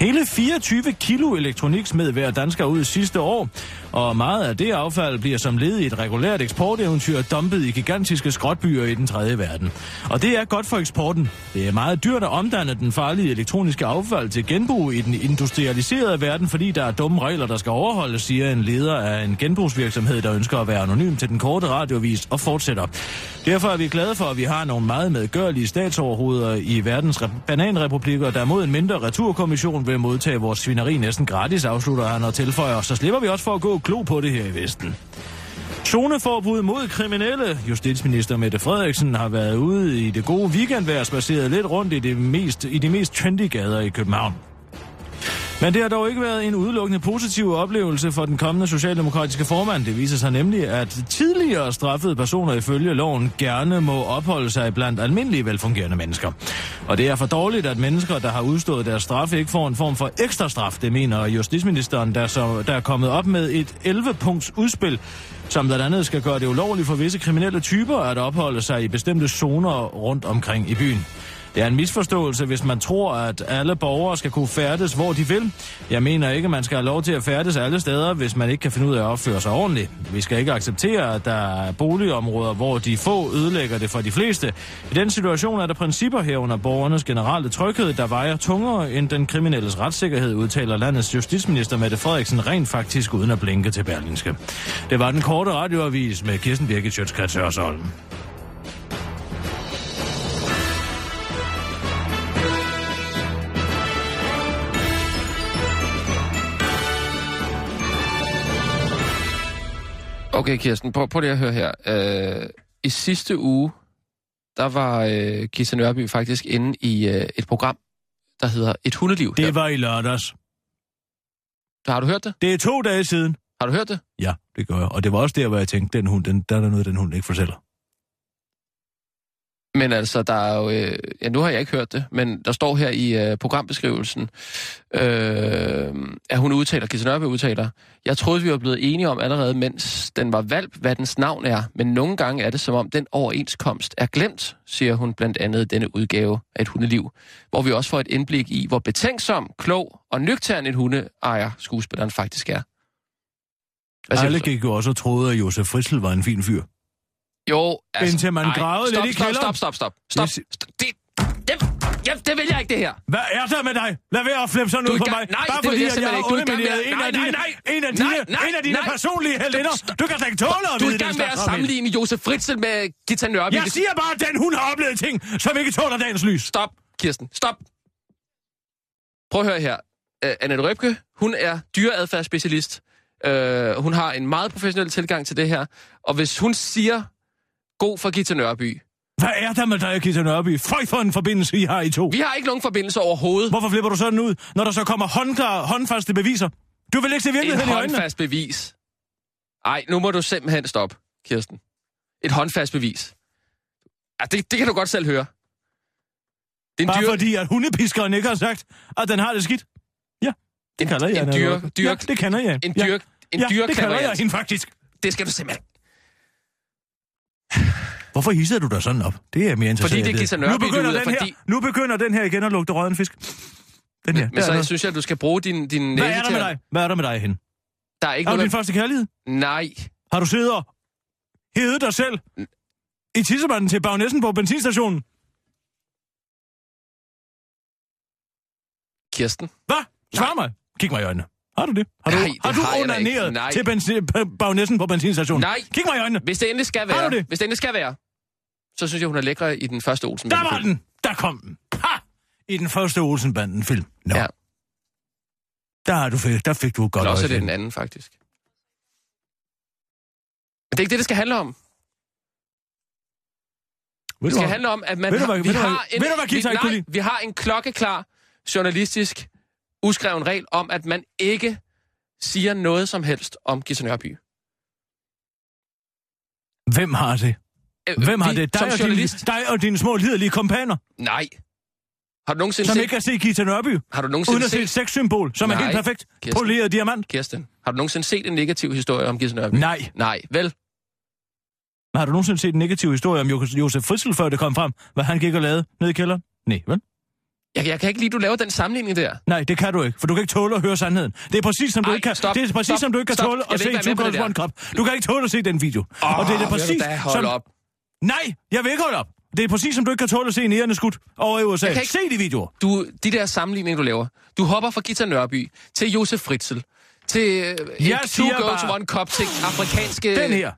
S5: Hele 24 kilo elektronik smed hver dansker ud sidste år, og meget af det affald bliver som led i et regulært eksporteventyr dumpet i gigantiske skrotbyer i den tredje verden. Og det er godt for eksporten. Det er meget dyrt at omdanne den farlige elektroniske affald til genbrug i den industrialiserede verden, fordi der er dumme regler, der skal overholdes, siger en leder af en genbrugsvirksomhed, der ønsker at være anonym til den korte radiovis og fortsætter. Derfor er vi glade for, at vi har nogle meget medgørlige statsoverhoveder i verdens re- bananrepublikker, der mod en mindre returkommission vil modtage vores svineri næsten gratis, afslutter han og tilføjer, så slipper vi også for at gå klo på det her i Vesten. Zoneforbud mod kriminelle. Justitsminister Mette Frederiksen har været ude i det gode weekendvejr, spaceret lidt rundt i, det mest, i de mest trendy gader i København. Men det har dog ikke været en udelukkende positiv oplevelse for den kommende socialdemokratiske formand. Det viser sig nemlig, at tidligere straffede personer ifølge loven gerne må opholde sig blandt almindelige velfungerende mennesker. Og det er for dårligt, at mennesker, der har udstået deres straf, ikke får en form for ekstra straf. Det mener justitsministeren, der, så, der er kommet op med et 11-punkts udspil, som blandt andet skal gøre det ulovligt for visse kriminelle typer at opholde sig i bestemte zoner rundt omkring i byen. Det er en misforståelse, hvis man tror, at alle borgere skal kunne færdes, hvor de vil. Jeg mener ikke, man skal have lov til at færdes alle steder, hvis man ikke kan finde ud af at opføre sig ordentligt. Vi skal ikke acceptere, at der er boligområder, hvor de få ødelægger det for de fleste. I den situation er der principper herunder borgernes generelle tryghed, der vejer tungere end den kriminelles retssikkerhed, udtaler landets justitsminister Mette Frederiksen rent faktisk uden at blinke til Berlingske. Det var den korte radioavis med Kirsten Birgit Sjøtskrets Hørsholm.
S4: Okay, Kirsten, prøv, prøv lige at høre her. Øh, I sidste uge, der var øh, Gita Nørby faktisk inde i øh, et program, der hedder Et hundeliv. her.
S5: Det var i lørdags.
S4: Har du hørt det?
S5: Det er to dage siden.
S4: Har du hørt det?
S5: Ja, det gør jeg. Og det var også der, hvor jeg tænkte, den hund, den, der er der noget, den hund ikke fortæller.
S4: Men altså, der er jo... Øh, ja, nu har jeg ikke hørt det, men der står her i øh, programbeskrivelsen, øh, at hun udtaler, Kirsten Nørby udtaler, jeg troede, vi var blevet enige om allerede, mens den var valp, hvad dens navn er, men nogle gange er det, som om den overenskomst er glemt, siger hun blandt andet i denne udgave af Et hundeliv, hvor vi også får et indblik i, hvor betænksom, klog og nøgtern en hundeejer skuespilleren faktisk er. Hvad siger du
S5: Alle
S4: så?
S5: gik jo også og troede, at Josef Frissel var en fin fyr.
S4: Jo, altså,
S5: Indtil man gravede
S4: stop,
S5: lidt i
S4: stop,
S5: kælderen.
S4: Stop, stop, stop, stop.
S5: Hvis-
S4: stop. Det, det, ja, det vil jeg ikke, det her.
S5: Hvad er der med dig? Lad være at flippe sådan
S4: Du
S5: ud
S4: er i
S5: på
S4: gang-
S5: mig.
S4: nej,
S5: Bare
S4: det vil
S5: fordi,
S4: jeg
S5: at jeg
S4: simpelthen
S5: har
S4: ikke. Du er i gang med
S5: undermineret
S4: at-
S5: en
S4: nej,
S5: af dine,
S4: nej, nej.
S5: en af dine,
S4: Nej, nej,
S5: en af dine
S4: nej.
S5: personlige heldinder.
S4: Stop.
S5: Du kan da ikke tåle at
S4: Du er
S5: vide
S4: i gang
S5: den
S4: med at
S5: slags, Ramil.
S4: sammenligne Josef Fritzl med Gita Nørby.
S5: Jeg siger bare, at den hun har oplevet ting, som ikke tåler dagens lys.
S4: Stop, Kirsten. Stop. Prøv at høre her. Uh, Annette Røbke, hun er dyreadfærdsspecialist. Uh, hun har en meget professionel tilgang til det her. Og hvis hun siger, god for Gita Nørby.
S5: Hvad er der med dig, Gita Nørby? Føj for en forbindelse, I har i to.
S4: Vi har ikke nogen forbindelse overhovedet.
S5: Hvorfor flipper du sådan ud, når der så kommer håndklare, håndfaste beviser? Du vil ikke se
S4: Et
S5: virkeligheden i øjnene.
S4: håndfast bevis. Ej, nu må du simpelthen stoppe, Kirsten. Et håndfast bevis. Ja, det, det kan du godt selv høre. Det er en
S5: Bare
S4: dyre,
S5: fordi, at hundepiskeren ikke har sagt, at den har det skidt. Ja, det
S4: En-
S5: kalder jeg
S4: en
S5: hende.
S4: dyr- dyr-
S5: ja, det kender jeg.
S4: en
S5: Ja.
S4: dyre, en
S5: ja,
S4: dyre
S5: det kalder jeg hende faktisk.
S4: Det skal du simpelthen.
S5: Hvorfor hisser du dig sådan op? Det er mere interessant.
S4: det er Ghita Nørby,
S5: nu
S4: du
S5: begynder,
S4: lyder,
S5: den her,
S4: fordi-
S5: nu begynder den her igen at lugte røden fisk. Den her.
S4: Men
S5: Der er
S4: så
S5: noget.
S4: synes jeg, at du skal bruge din, din
S5: Hvad
S4: næse
S5: er der
S4: til
S5: med
S4: at-
S5: dig? Hvad er der med dig, hende?
S4: Der er ikke
S5: Er du
S4: noget...
S5: din første kærlighed?
S4: Nej.
S5: Har du siddet og hedet dig selv i tissemanden til bagnessen på benzinstationen?
S4: Kirsten?
S5: Hvad? Svar mig. Kig mig i øjnene. Har du det? Har du,
S4: Nej, det
S5: har du
S4: har jeg da ikke.
S5: onaneret
S4: Nej.
S5: til benzin, bagnessen på benzinstationen?
S4: Nej.
S5: Kig mig i øjnene.
S4: Hvis det endelig skal
S5: Har
S4: være,
S5: du det?
S4: hvis det endelig skal være, så synes jeg, hun er lækre i den første Olsen.
S5: Der var den. Der kom den. Ha! I den første Olsenbanden-film. Nå.
S4: Ja.
S5: Ja. Der, har du fik, der fik du et godt
S4: Eller også er
S5: øje
S4: det
S5: til.
S4: den anden, faktisk. Men det er ikke det, det skal handle om.
S5: Ved
S4: Det
S5: du
S4: skal
S5: hvad?
S4: handle om, at man
S5: Ved du
S4: har,
S5: hvad-
S4: vi,
S5: ved du
S4: har
S5: hvad-
S4: en,
S5: ved du hvad, Gita,
S4: vi,
S5: jeg kunne
S4: nej,
S5: lide?
S4: vi har en klokkeklar journalistisk uskreven regel om, at man ikke siger noget som helst om Gita Nørby. Øh,
S5: Hvem har det?
S4: Øh,
S5: Hvem har
S4: vi
S5: det? Dig
S4: som
S5: og, dine,
S4: journalist?
S5: dig og dine små liderlige kompaner,
S4: Nej. Har du nogensinde
S5: som
S4: set...
S5: ikke kan se Gita Nørby,
S4: Har du
S5: uden
S4: nogensinde
S5: at se et
S4: set...
S5: sexsymbol, som er
S4: Nej,
S5: helt perfekt
S4: Kirsten.
S5: poleret diamant.
S4: Kirsten, har du nogensinde set en negativ historie om Gita Nørby?
S5: Nej.
S4: Nej, vel?
S5: Men har du nogensinde set en negativ historie om Jo- Josef Fritzl, før det kom frem, hvad han gik og lavede nede i kælderen? Nej, vel?
S4: Jeg, jeg kan ikke lide, du laver den sammenligning der.
S5: Nej, det kan du ikke, for du kan ikke tåle at høre sandheden. Det er præcis som du
S4: Ej,
S5: ikke kan,
S4: stop,
S5: det er præcis
S4: stop,
S5: som du ikke kan
S4: stop.
S5: tåle
S4: Jeg
S5: at
S4: vil
S5: se
S4: ikke være
S5: Two
S4: med på det
S5: Girls
S4: der.
S5: One Cup. Du kan ikke tåle at se den video. og det er
S4: Åh,
S5: det præcis
S4: vil du da holde
S5: som...
S4: op.
S5: Nej, jeg vil ikke holde op. Det er præcis som du ikke kan tåle at se en ærende skud over i USA.
S4: kan
S5: Ikke...
S4: ikke-
S5: Se de videoer.
S4: Du, de der sammenligninger, du laver. Du hopper fra Gita Nørby til Josef Fritzl. Til jeg
S5: Jeg
S4: Two
S5: siger
S4: Girls
S5: bare-
S4: One Cup til afrikanske...
S5: Den her,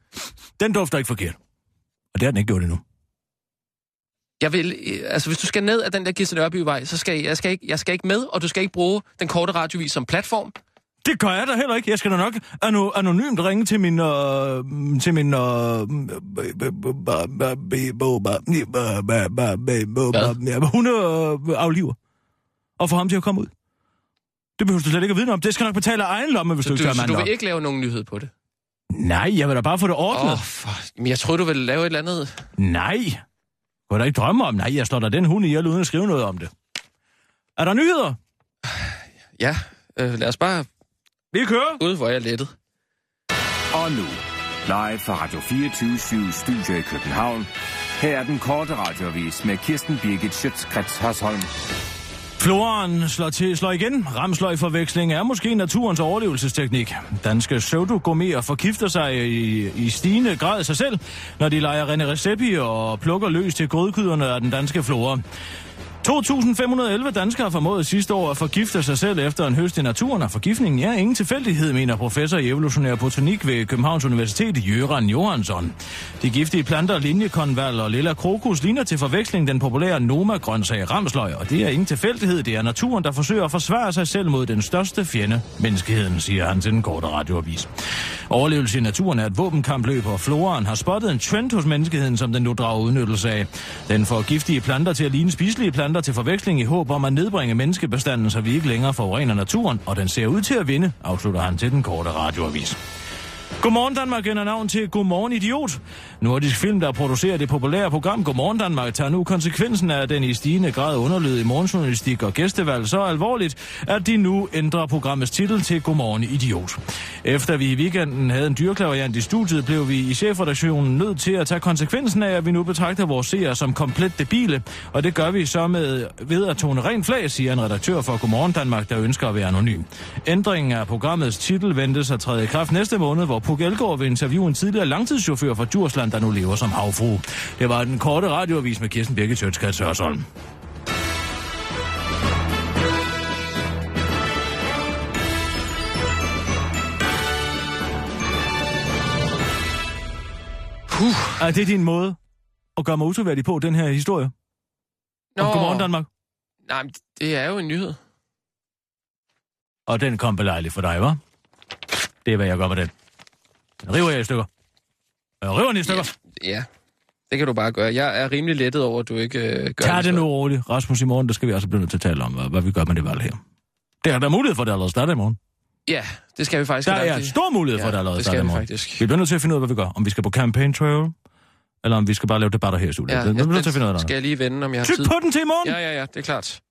S5: den dufter ikke forkert. Og det har den ikke gjort endnu.
S4: Jeg vil, øh, altså, hvis du skal ned ad den der Gita Nørby-vej, så skal jeg, jeg, skal ikke, jeg skal ikke med, og du skal ikke bruge den korte radiovis som platform.
S5: Det gør jeg da heller ikke. Jeg skal da nok ano- anonymt ringe til min... Øh, til min... Øh, hundeafliver. Og få ham til at komme ud. Det behøver du slet ikke at vide noget om. Det skal jeg nok betale af egen lomme, hvis
S4: Så
S5: du
S4: du,
S5: ikke tør
S4: så
S5: mand
S4: du
S5: nok.
S4: vil ikke lave nogen nyhed på det?
S5: Nej, jeg vil da bare få det
S4: Åh,
S5: ordnet.
S4: oh, for... Men jeg troede, du ville lave et eller andet...
S5: Nej. Kunne da ikke drømme om. Nej, jeg slår da den hund ihjel uden at skrive noget om det. Er der nyheder?
S4: Ja, øh, lad os bare...
S5: Vi kører.
S4: Gud, hvor er jeg lettet.
S6: Og nu, live fra Radio 24 Studio i København. Her er den korte radiovis med Kirsten Birgit Schøtzgrads Hasholm.
S5: Floren slår, til, slår igen. Ramsløgforveksling er måske naturens overlevelsesteknik. Danske pseudogourmeter forgifter sig i, i stigende grad sig selv, når de leger René Recepi og plukker løs til grødkyderne af den danske flora. 2.511 danskere formåede sidste år at forgifte sig selv efter en høst i naturen, og forgiftningen er ingen tilfældighed, mener professor i evolutionær botanik ved Københavns Universitet, Jørgen Johansson. De giftige planter, linjekonval og lilla krokus ligner til forveksling den populære Noma-grøntsag ramsløg, og det er ingen tilfældighed, det er naturen, der forsøger at forsvare sig selv mod den største fjende, menneskeheden, siger han til den korte radioavis. Overlevelse i naturen er et våbenkampløb, og floraen har spottet en trend hos menneskeheden, som den nu drager udnyttelse af. Den får giftige planter til at ligne spiselige planter til forveksling i håb om at nedbringe menneskebestanden, så vi ikke længere forurener naturen, og den ser ud til at vinde, afslutter han til den korte radioavis. Godmorgen Danmark ender navn til Godmorgen Idiot. Nordisk Film, der producerer det populære program Godmorgen Danmark, tager nu konsekvensen af den i stigende grad underlyd i morgenjournalistik og gæstevalg så alvorligt, at de nu ændrer programmets titel til Godmorgen Idiot. Efter vi i weekenden havde en dyrklaveriant i studiet, blev vi i chefredaktionen nødt til at tage konsekvensen af, at vi nu betragter vores seere som komplet debile, og det gør vi så med ved at tone ren flag, siger en redaktør for Godmorgen Danmark, der ønsker at være anonym. Ændringen af programmets titel ventes at træde i kraft næste måned, hvor hvor Puk Elgård vil interviewe en tidligere langtidschauffør fra Djursland, der nu lever som havfru. Det var den korte radioavis med Kirsten Birgit Sjøtskrets Hørsholm. Er det din måde at gøre mig utroværdig på, den her historie? Nå. Om Godmorgen Danmark.
S4: Nej, men det er jo en nyhed.
S5: Og den kom belejligt for dig, var? Det er, hvad jeg gør med den. Den river jeg i stykker. Jeg river den i stykker.
S4: Ja, det kan du bare gøre. Jeg er rimelig lettet over, at du ikke øh, gør
S5: Tag
S4: det
S5: det nu
S4: så.
S5: roligt. Rasmus, i morgen, der skal vi også blive nødt til at tale om, hvad, hvad vi gør med det valg her. Det er der mulighed for, at det allerede starter i morgen.
S4: Ja, det skal vi faktisk.
S5: Der
S4: Det
S5: er
S4: det-
S5: stor mulighed for,
S4: Ja,
S5: at det allerede
S4: det
S5: starter i
S4: skal vi
S5: morgen.
S4: faktisk.
S5: Vi bliver nødt til at finde ud af, hvad vi gør. Om vi skal på campaign trail, eller om vi skal bare lave debatter her i studiet.
S4: Ja,
S5: Ja, det, vi bliver nødt til at finde ud af
S4: skal
S5: det.
S4: jeg lige vende, om jeg har
S5: Tyk
S4: tid.
S5: på den til i morgen!
S4: Ja, ja, ja, det er klart.